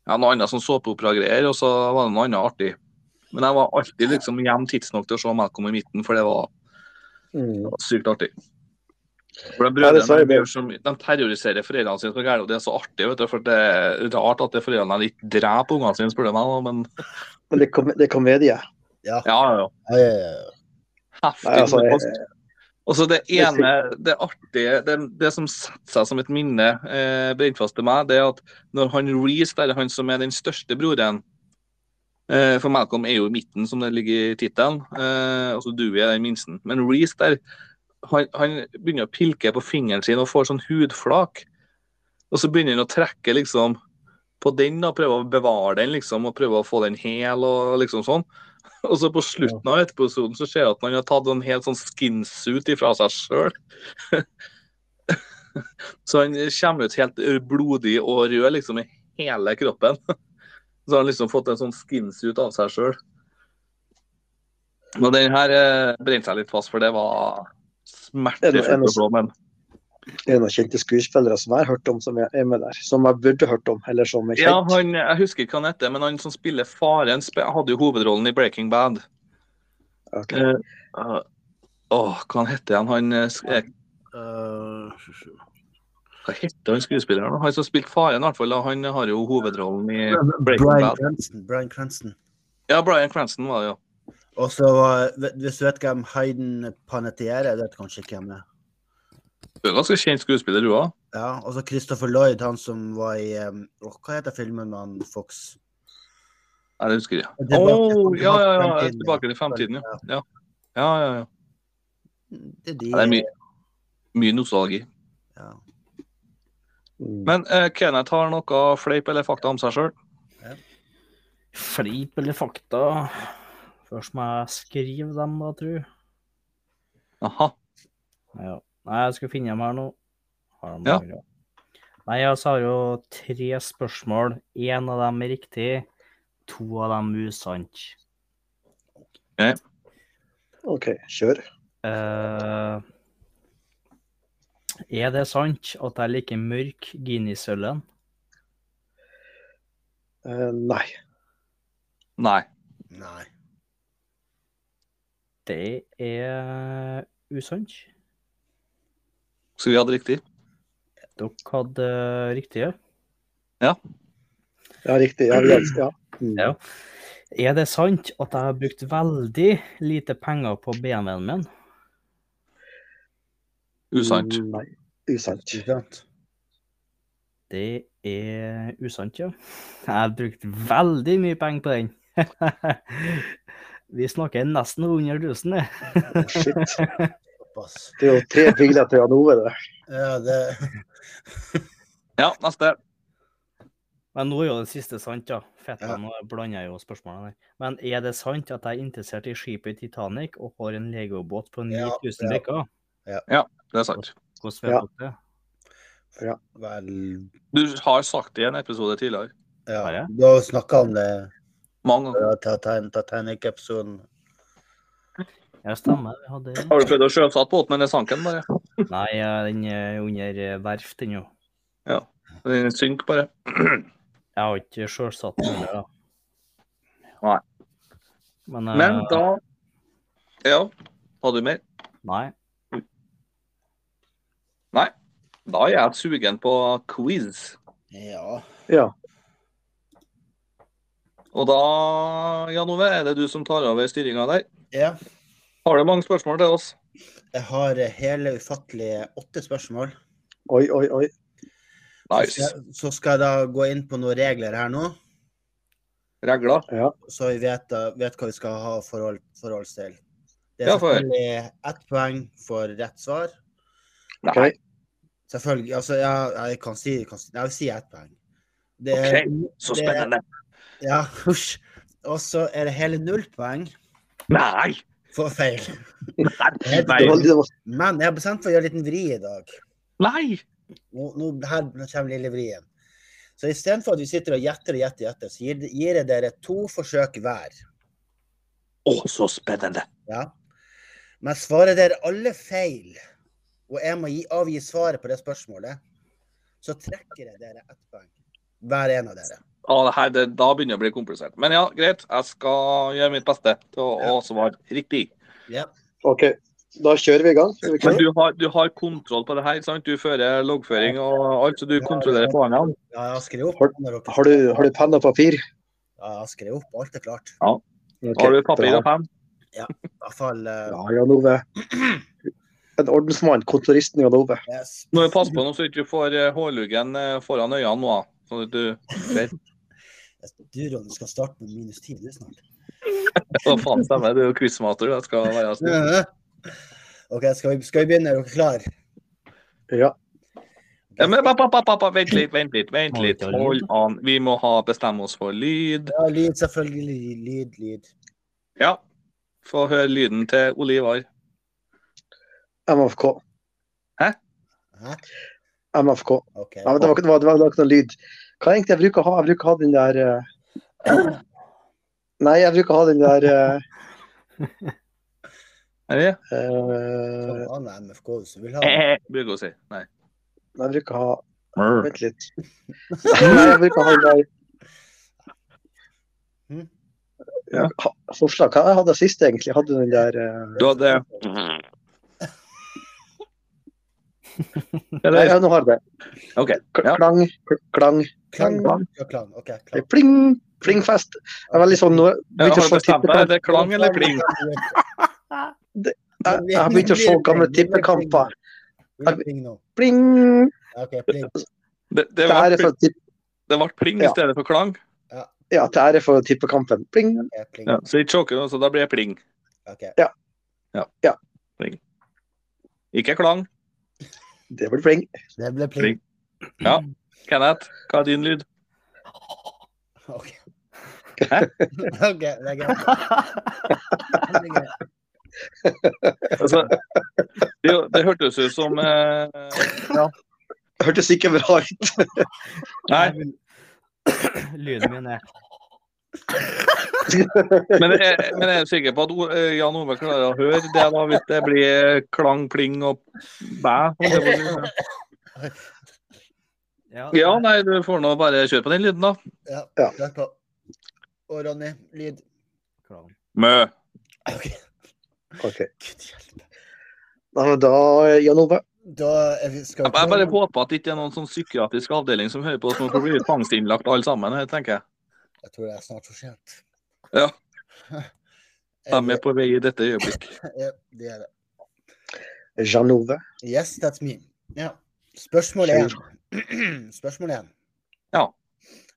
A: ja, noe annet sånn såpeoperagreier, og så var det noe annet artig. Men jeg var alltid liksom hjemme tidsnok til å se Malcolm i midten, for det var
D: Mm.
A: sykt artig. For de
D: Ja, det sa
A: brødrene
D: jeg
A: de,
D: bare.
A: gjør så mye- de terroriserer foreldrene sine så gærent, og det er så artig. vet du, for Det er rart at det er foreldrene ikke dreper ungene sine, spør du meg. da, Men
D: Men det, er kom, det er komedie.
A: ja, ja, ja.
B: Ja, ja, ja.
A: Heftig.
D: Nei, altså,
A: kost.
D: jeg,
A: Og så det
D: Jeg
A: ene, det artige, det, det som setter seg som et minne eh, brent fast til meg, det er at når han Reece, der, han som er den største broren, Eh, For Malcolm er jo i midten, som det ligger i tittelen. Eh, og så Dewey er den minsten. Men Reece der, han, han begynner å pilke på fingeren sin og får sånn hudflak. Og så begynner han å trekke liksom på den, da, prøve å bevare den liksom, og prøve å få den hel og liksom sånn. Og så på slutten av episoden så ser jeg at han har tatt en helt sånn skinsuit ifra seg sjøl. så han kommer ut helt blodig og rød liksom i hele kroppen. Så har han liksom fått en sånn skinsuit av seg sjøl. Og den her eh, brente seg litt fast, for det var
D: Er
A: smerter
D: det- er det-
A: fullt blå, men
D: En av kjente skuespillere som jeg har hørt om, som er er med der. Som jeg burde hørt om, eller som er
A: Ja,
D: kjent.
A: han, jeg husker ikke hva han heter, men han som spiller faren, sp- hadde jo hovedrollen i Breaking Bad.
D: Ok.
A: Eh, Åh, hva han heter han? Han, eh, sk- eh,
B: Eh,
A: hva heter han skuespilleren? Han som spilte faren, i hvert fall. da, Han har jo hovedrollen i Breaking
B: Brian
A: Bad.
B: Cranston. Brian Cranston.
A: Ja, Brian Cranston var det, ja.
B: Og så var- vet- Hvis du vet hvem Hayden Panettiere er, vet kanskje ikke hvem det er.
A: Du er ganske kjent skuespiller, du òg.
B: Ja, og så Christopher Lloyd, han som var i um, åh, Hva heter filmen med han Fox?
A: Ja, det husker jeg. Å,
B: Tilbake-
A: ja, ja, ja.
B: Tilbake til
A: Tilbake til fremtiden, ja. Ja, ja, ja. ja.
B: Det er de.
A: Ja, Det er mye, mye nostalgi.
B: ja.
D: Mm.
A: Men eh, Kenneth har noe fleip eller fakta om seg sjøl.
C: Fleip eller fakta? Først må jeg skrive dem, da, tru.
A: Aha.
C: Ja. Nei, jeg skal finne dem her nå. Har de
A: Ja.
C: her, ja. Nei, altså har jo tre spørsmål. Én av dem er riktig, to av dem usant.
D: OK, kjør.
C: Eh, er det sant at jeg liker mørk Guinness-ølen?
D: Eh, nei.
A: Nei.
B: Nei.
C: Det er usant.
A: Så vi hadde riktig.
C: Dere hadde riktige.
D: Ja, riktig. Ja, vi elsker- ja. Mm.
C: Ja. Er det sant at jeg har brukt veldig lite penger på BMW-en min?
A: Usant.
D: Mm, Nei. Usant.
B: Ikke sant?
C: Det er usant, ja. Jeg har brukt veldig mye penger på den. Vi snakker nesten 100 000, det.
D: Å, Shit.
B: Såpass.
D: Det er jo tre biler til Jan Ove, det.
B: Ja, det
A: Ja, neste.
C: Men nå er jo det siste sant, ja. Fett,
B: Ja.
C: nå blander jeg jo spørsmålene her. Men er det sant at jeg er interessert i skipet Titanic og har en legobåt på
B: Ja,
C: 9000
B: ja.
C: brikker?
A: Det er sant.
C: Hvordan vet
D: Ja.
C: dere det?
B: Vel
A: Du har sagt det i en episode tidligere.
C: Har
B: Ja.
C: jeg?
B: Du har jo snakka om det
A: Mange ganger.
B: fra Titan- Titanic-episoden.
C: Ja, stemmer. Vi hadde det.
A: Har du prøvd å sjøsette båten, men det sank den bare?
C: Nei, eh, den er under eh, verft, den jo.
A: Den synker bare.
C: Jeg har ikke sjølsatt den heller, da.
A: Nei.
C: Men, eh,
A: Men da Ja. Hadde du mer?
C: Nei.
A: Da er jeg sugen på quiz.
B: Ja.
D: Ja.
A: Og da, Jan Ove, er det du som tar over styringa der?
B: ja.
A: Har du mange spørsmål til oss?
B: Jeg har eh, hele ufattelige åtte spørsmål.
D: Oi, oi, oi.
B: Så skal
A: Nice.
B: jeg- Så skal jeg da gå inn på noen regler her nå,
A: Regler.
D: Ja.
B: så vi vet, da- vet hva vi skal ha forhold, forholds til. Det
A: Ja,
B: er
A: få høre.
B: selvfølgelig ett poeng for rett svar.
A: Nei.
B: Selvfølgelig. Altså, jeg, jeg kan si, kan si Jeg vil si ett poeng. Det,
A: Ok, så
B: det-
A: spennende.
B: Ja, husj. Og så er det hele null poeng
A: Nei!
B: for feil.
A: Nei!
D: Det var,
A: Nei!
D: det var,
B: Men jeg har bestemt for å gjøre en liten vri i dag.
A: Nei.
B: Nå, nå, her kommer lille vrien. Så istedenfor at vi sitter og gjetter og gjetter, og gjetter, så gir, gir jeg dere to forsøk hver.
A: Å, så spennende.
B: Ja. Men svarer dere alle feil, og jeg må gi, avgi svaret på det spørsmålet, så trekker jeg dere ett poeng. Hver en av dere.
A: Å, det her, det, da begynner det å bli komplisert. Men ja, greit. Jeg skal gjøre mitt beste til å, å svare riktig.
B: Ja.
D: OK, da kjører vi i gang. Er vi
A: Men
D: klare?
A: du har, du har kontroll på det her, ikke sant? Du fører loggføring og alt, så du kontrollerer poengene.
B: Ja, jeg har skrevet opp.
D: Har-
B: når dere-
D: Har du, har du penn og papir?
B: Ja, jeg har skrevet opp. Alt er klart.
D: Ok,
A: Har du papir og
D: bra.
A: penn?
B: I hvert fall eh,
D: Ja, Jan Ove. En ordensmann, kontoristen Jan Ove.
B: yes.
A: Nå må du passe på nå så du ikke får eh, hårluggen eh, foran øynene nå. da. Sånn at du
B: Du, Ronny, skal starte med minus 10 du snart.
A: Hva faen stemmer? Du er jo quizmaster. Jeg skal være sånn. snill.
B: OK, skal vi, skal vi begynne? Er dere klare?
D: Ja.
A: Ja, men, pa, pa, pa, pa, pa, vent litt, vent litt. vent
C: Må vi
A: litt.
C: ta lyd?
A: Hold an. Vi må ha bestemme oss for lyd.
B: Ja, lyd, selvfølgelig. Lyd, lyd.
A: Ja. Få høre lyden til Ole Ivar.
D: MFK.
B: Hæ?
D: MFK.
B: OK.
D: Ja, men det, var, ikke- det, var, det, var, det var ikke noe lyd. Hva er egentlig jeg bruker å ha? Jeg bruker å ha den der eh, Nei, jeg bruker å ha den der
A: Er det?
D: eh, eh,
B: Faen, MFK, hvis du vil ha
A: Eh, Bruker å si. Nei.
D: Jeg bruker å ha
A: Mør.
D: Vent litt. Nei, jeg bruker å ha den der
B: Mhm.
D: ja, ha- forslag. Hva jeg hadde jeg sist, egentlig? Jeg Hadde den der eh,
A: Du hadde
D: Nei,
A: Eller
D: ja, nå har jeg det.
A: OK.
D: K-
A: Ja.
D: Klang, k- klang,
B: Klang.
D: klang.
B: Ja, klang. OK, klang.
D: pling, plingfest. Det er veldig sånn nå
A: Ja,
D: begynte
A: har du
D: å se
A: bestemt deg?
D: tippekamp-
A: Er det klang eller kling?
D: Jeg jeg har begynt å se gamle tippekamper.
B: Vil du pling nå?
D: Pling!
B: Ja, OK, pling.
A: Det, det,
D: Til ære
A: ble,
D: for, tipp-
A: det ble pling i
D: Ja.
A: stedet for klang.
D: ja, til ære for tippekampen. Pling!
B: Ja, pling.
A: Ja. Så ikke sjokk, så da blir det pling.
B: OK.
A: Ikke klang.
D: Det blir pling.
B: Det ble pling.
A: Kenneth, hva er din lyd?
B: OK.
A: Hæ?
B: OK, det er greit. Det er greit.
A: Altså, det, det hørtes ut som eh,
D: Hørtes ikke bra ut.
A: Nei,
C: Lyden min er
A: men jeg, men jeg er sikker på at O- eh, Jan Ove klarer å høre det da, hvis det blir eh, klang, pling og bæ. holdt jeg på å si. sånn. Ja, nei, du får nå bare kjøre på den lyden, da.
B: Ja,
D: Ja.
B: klar på. Og Ronny, lyd.
C: klang.
A: Mø.
B: OK.
D: Ok.
B: Gud hjelpe.
D: Nei, men da, Jan Ove.
B: Da er vi, skal
A: Jeg
B: vi
A: jeg bare håper at det ikke er noen sånn psykiatrisk avdeling som hører på oss, for vi blir tvangsinnlagt alle sammen, her, tenker jeg.
B: Jeg tror det er snart for sent.
A: Ja. De
B: Eller-
A: er på vei i dette øyeblikk.
B: Ja, det er det.
D: Jan Ove.
B: Yes, that's me. Ja. Spørsmål én. Spørsmål én.
A: Ja.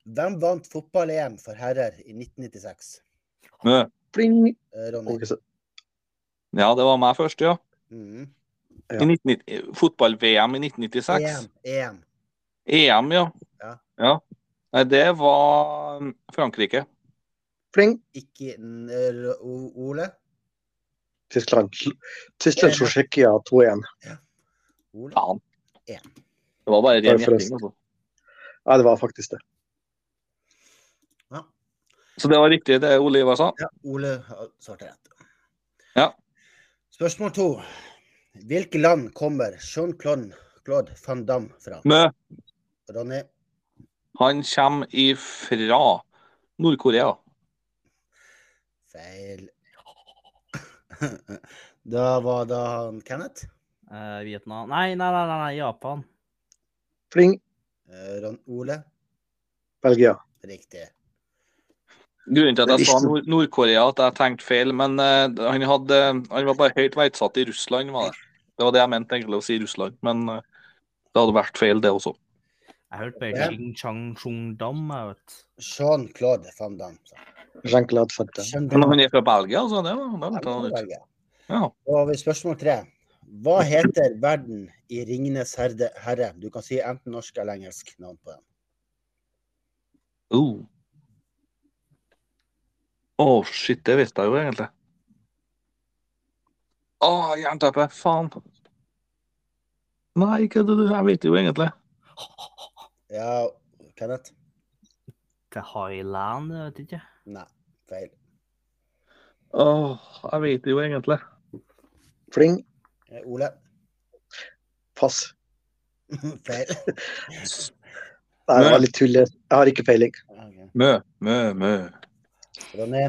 B: Hvem vant fotball-EM for herrer i 1996?
A: Mø.
D: Pling!
B: Eh, Ronny.
D: Ok, så-
A: Ja, det var meg først, ja.
B: Mhm.
A: I 1990 Fotball-VM i 1996.
B: EM. EM.
A: EM, ja.
B: Ja.
A: ja. Nei, det var mm, Frankrike.
D: Pling!
B: Ikke n- r- O- Ole?
D: Tyskland. Tyskland, Tsjekkia 2-1.
B: Ole?
A: Faen.
B: Ja.
A: Det var bare
D: Bare
A: ren
D: for å-
A: gjetting. Altså.
D: Nei, det var faktisk det.
B: Ja.
A: Så det var riktig det Ole Ivar sa.
B: Ja, Ole har svart rett.
A: Ja.
B: Spørsmål to. Hvilke land kommer Jean-Claude Claude van Damme fra?
A: Mø,
B: Ronny?
A: han kommer ifra Nord-Korea.
B: Feil. Da var da han Kenneth.
C: Eh, Vietnam Nei, nei, nei, nei, nei, Japan.
D: Pling!
B: Eh, Ron Ole?
D: Belgia.
B: Riktig.
A: Grunnen til at jeg
D: Det
A: sa
D: visste-
A: Nord- Nord-Korea, at jeg tenkte feil, men eh, han, hadde, han var bare høyt verdsatt i Russland, var det. Det var det jeg mente egentlig å si Russland, men eh, det hadde vært feil, det også.
C: Jeg hørte bare
B: Ja.
C: Ching Chang Chung Dam, jeg vet.
B: Jean-Claude van Damme. sa han.
D: Jean-Claude Van Damme.
B: Jean
A: Men
B: Damme
A: han er fra Belgia, altså. Det var, det
B: van
A: var
B: Damme,
A: litt annet.
B: velger jeg.
A: Ja.
B: Da har vi spørsmål tre. Hva heter verden i 'Ringenes herde- herre'? Du kan si enten norsk eller engelsk navn på den.
A: Oh. Å, shit, det visste jeg jo egentlig. Å, jernteppe, faen. Nei, ikke det, jeg vet jo egentlig.
B: Ja, Kenneth?
C: Til Highland, jeg vet ikke.
B: Nei, feil.
A: Å, jeg vet jo egentlig.
D: Pling!
B: Eh, Ole?
D: Pass.
B: Feil.
D: Nei, det
A: Nei.
D: var litt tull. Jeg har ikke peiling.
B: Ok.
A: Mø, mø, mø.
B: Ronny?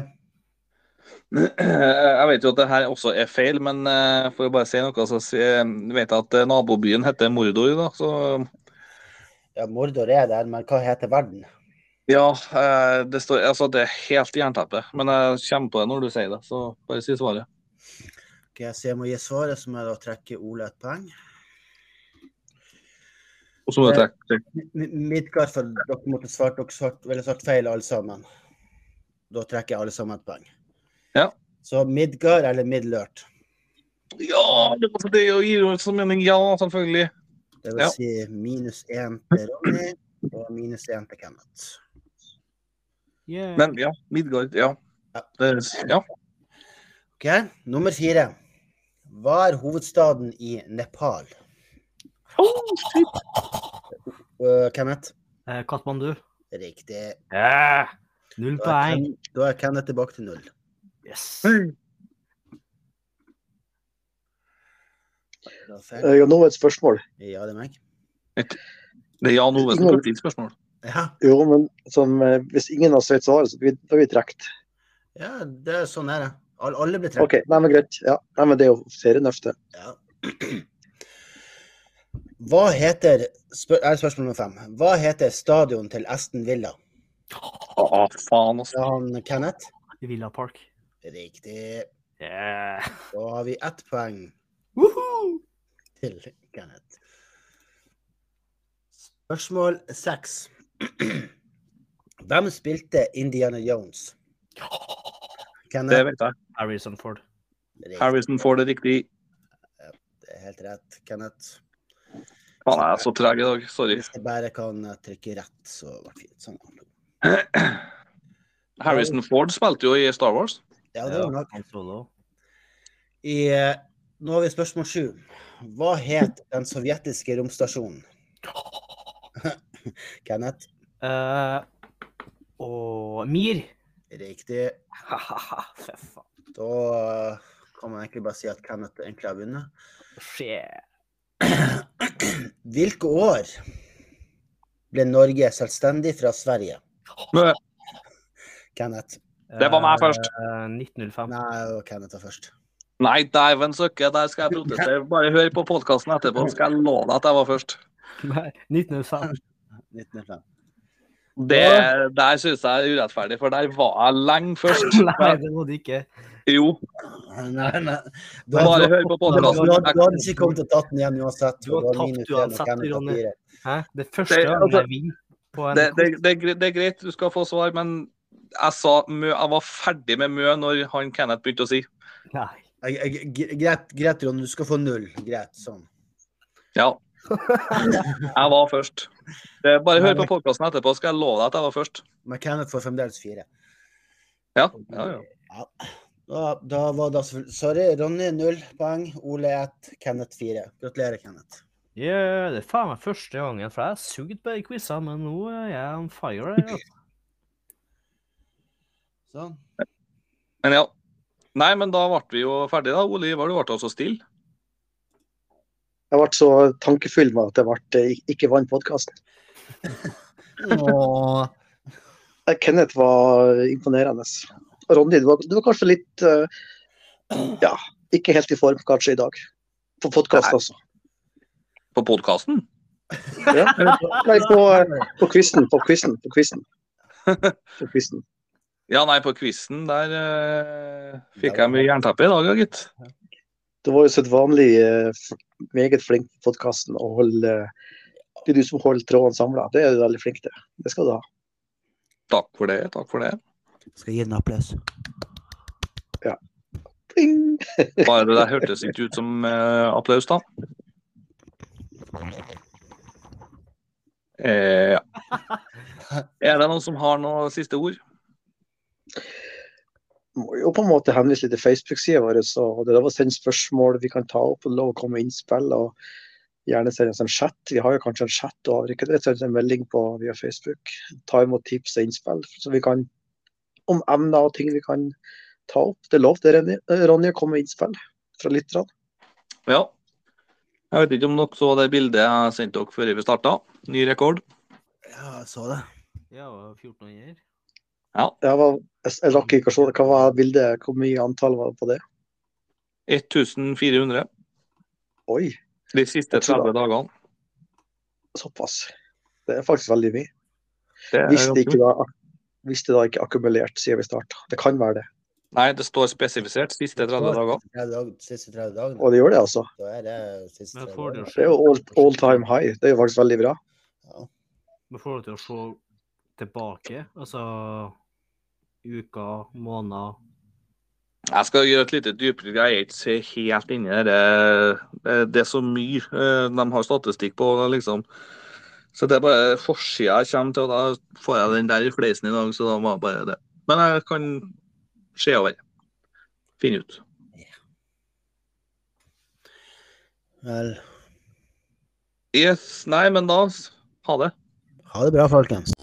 A: Jeg vet jo at det her også er feil, men eh, for å bare si noe, så si- vet jeg at eh, nabobyen heter Mordor, da, så
B: Ja, Mordor er der, men hva heter verden?
A: Ja, eh, det står Altså, det er helt jernteppe, men jeg kommer på det når du sier det, så bare si svaret.
B: Ok, så jeg må gi svaret, som er å trekke Ole et poeng.
A: Og så må du trekke trekke-
B: Mitt kast for dere måtte svart, dere svart, eller svart feil alle sammen. Da trekker jeg alle sammen et poeng.
A: Ja.
B: Så Midgard eller Midlørt.
A: Ja, det var det å gi ut som mening. Ja, selvfølgelig.
B: Det vil
A: Ja.
B: si minus én til Ronny og minus én til Kenneth.
C: Yeah.
A: Men ja, Midgard, ja. Det, er- ja.
B: Ok, Nummer fire. Hva er hovedstaden i Nepal? Øh, Kenneth?
C: Eh, Katmandu.
B: Riktig.
C: Eh, null
B: Da er,
C: poeng.
B: Ken, da er Kenneth tilbake til null.
C: Yes.
B: Da er feil.
D: Eh, Jeg har nå et spørsmål.
B: Ja, det er meg.
A: det er Jan Ove som tok ditt spørsmål.
B: Ja,
D: Jo, men som, eh, hvis ingen har sveitt svaret, så blir da blir vi trukket.
B: ja det er sånn er det. Alle, alle blir trukket.
D: OK, nei, men greit. Ja, nei, men det er jo serienøft, det.
B: Ja. Hva heter spør, er Spørsmål nummer fem. Hva heter stadion til Aston Villa?
A: Å, faen, altså.
B: Da har han Kenneth.
C: Villa Park.
B: Riktig.
C: Yeah.
B: Da har vi ett poeng
C: Woohoo!
B: til Kenneth. Spørsmål seks. Hvem spilte Indiana Jones?
A: Det
B: Kenneth.
A: vet jeg.
C: Harrison Ford.
B: Riktig.
A: Harrison får det riktig.
B: Det er helt rett, Kenneth.
A: Faen, jeg er så treg i dag. Sorry.
B: Hvis jeg bare kan eh, trykke rett, så ble det fint. Sånn.
A: Harrison Ford spilte jo i Star Wars.
B: Ja, det var nok.
C: Han solo.
B: I, eh, nå har vi spørsmål sju. Hva het den sovjetiske romstasjonen? Kenneth?
C: Eh, og Mir.
B: Riktig.
C: Ha-ha-ha, Fy faen.
B: Da eh, kan man egentlig bare si at Kenneth egentlig har vunnet.
C: Shit.
B: Hvilke år ble Norge selvstendig fra Sverige?
A: Mø.
B: Kenneth?
A: Det var meg først.
C: Eh, 1905.
B: Nei, det var Kenneth var først.
A: Nei, dæven søkke, der skal jeg protestere. Bare hør på podkasten etterpå, så skal jeg love deg at jeg var først.
C: Nei, 1905.
B: 1905.
A: Det der syns jeg er urettferdig, for der var jeg lenge først.
C: Nei, det må du ikke.
A: Jo,
B: Nei, nei. Du har,
A: bare
B: du,
A: hør på
B: du, du,
A: podkasten.
B: hadde- du hadde ikke kommet til å tatt den igjen uansett.
C: Du har
B: for
C: tapt
B: minus
C: uansett,
B: en og Kenneth har
C: Ronny.
B: fire.
C: Hæ? Det første
A: Det-
C: gangen
A: altså-
C: jeg vinner på en
A: Det, det, det, er gre- det er greit, du skal få svar, men jeg sa Mø. Jeg var ferdig med Mø når han Kenneth begynte å si.
C: Nei.
B: Jeg- jeg- gre- Greit, greit, Ronny. Du skal få null. Greit. Sånn.
A: Ja. Jeg var først. Det, bare hør på podkasten etterpå, så skal jeg love deg at jeg var først.
B: Men Kenneth får fremdeles fire.
A: Ja, ja, ja.
B: Da, da var det altså- Sorry, Ronny null poeng, Ole ett, Kenneth fire. Gratulerer, Kenneth.
C: Yeah, det er faen meg første gangen, for jeg har sugd på de quizene, men nå er jeg on fire. her, altså.
B: Sånn.
A: Men ja. Nei, men da ble vi jo ferdige, da. Ole Ivar, du ble altså stille.
D: Jeg ble så tankefull med at jeg ble, eh, ikke vant podkasten.
B: Åh.
D: Eh, Kenneth var eh, imponerende. Og Ronny, du var, du var kanskje litt eh, Ja, ikke helt i form kanskje i dag. På podkast, altså.
A: På podkasten?
D: Ja. Nei, på, eh, på quizen. På quizen. På quizen. På quizen.
A: Ja, nei, på quizen der eh, fikk jeg mye jernteppe i dag, ja, gitt.
D: Du var jo sedvanlig eh, f- meget flink på podkasten og holde eh, Det er du som holder tråden samla. Det er du veldig flink til. Det skal du ha.
A: Takk for det. Takk for det.
B: Skal gi den applaus.
D: Pling!
A: Bare det der hørtes ikke ut som eh, applaus, da. Eh, ja. Er det noen som har noe siste ord?
D: Må jo på en måte henvise litt til Facebook-sida vår. Så det er lov å sende spørsmål vi kan ta opp, og det er lov å komme med innspill. og Gjerne send oss en chat. Vi har jo kanskje en chat og har vi ikke det, send oss en melding på via Facebook. Ta imot tips og innspill så vi kan, om emner og ting vi kan ta opp. Det er lov det, Ronny, eh, Ronny å komme med innspill fra lytterne.
A: Ja. Jeg vet ikke om dere så det bildet jeg sendte dere før vi starta. Ny rekord.
B: Ja, jeg så det.
C: Ja, og 1400.
D: Jeg, var, jeg, jeg rakk ikke å se det. Hva var bildet? Hvor mye antall var det på det?
A: 1400
D: Oi,
A: de siste 30 dagene.
D: såpass. Det er faktisk veldig mye.
A: Det er
D: Hvis det
A: ganske
D: ikke da, hvis det da ikke er akkumulert siden vi starta. Det kan være det.
A: Nei, det står spesifisert siste 30 dager.
B: Ja, dag- Siste 30 dagene.
D: Og det gjør det, altså.
B: Da er det siste
C: Men
B: 30
C: får du
B: dagene.
C: se-
D: Det er jo all, all time high. Det er jo faktisk veldig bra.
C: Men får du til å se tilbake, altså uker, måneder
A: Jeg skal gjøre et lite dypere Jeg er ikke så helt inni det. der. Det, det er så mye eh, de har statistikk på. liksom. Så det er bare forsida jeg kommer til, og da får jeg den der i fleisen i dag. Så da var bare det. Men jeg kan se over. Finne ut.
B: Vel,
A: Yes, nei, men da Ha det.
B: ha det bra, folkens.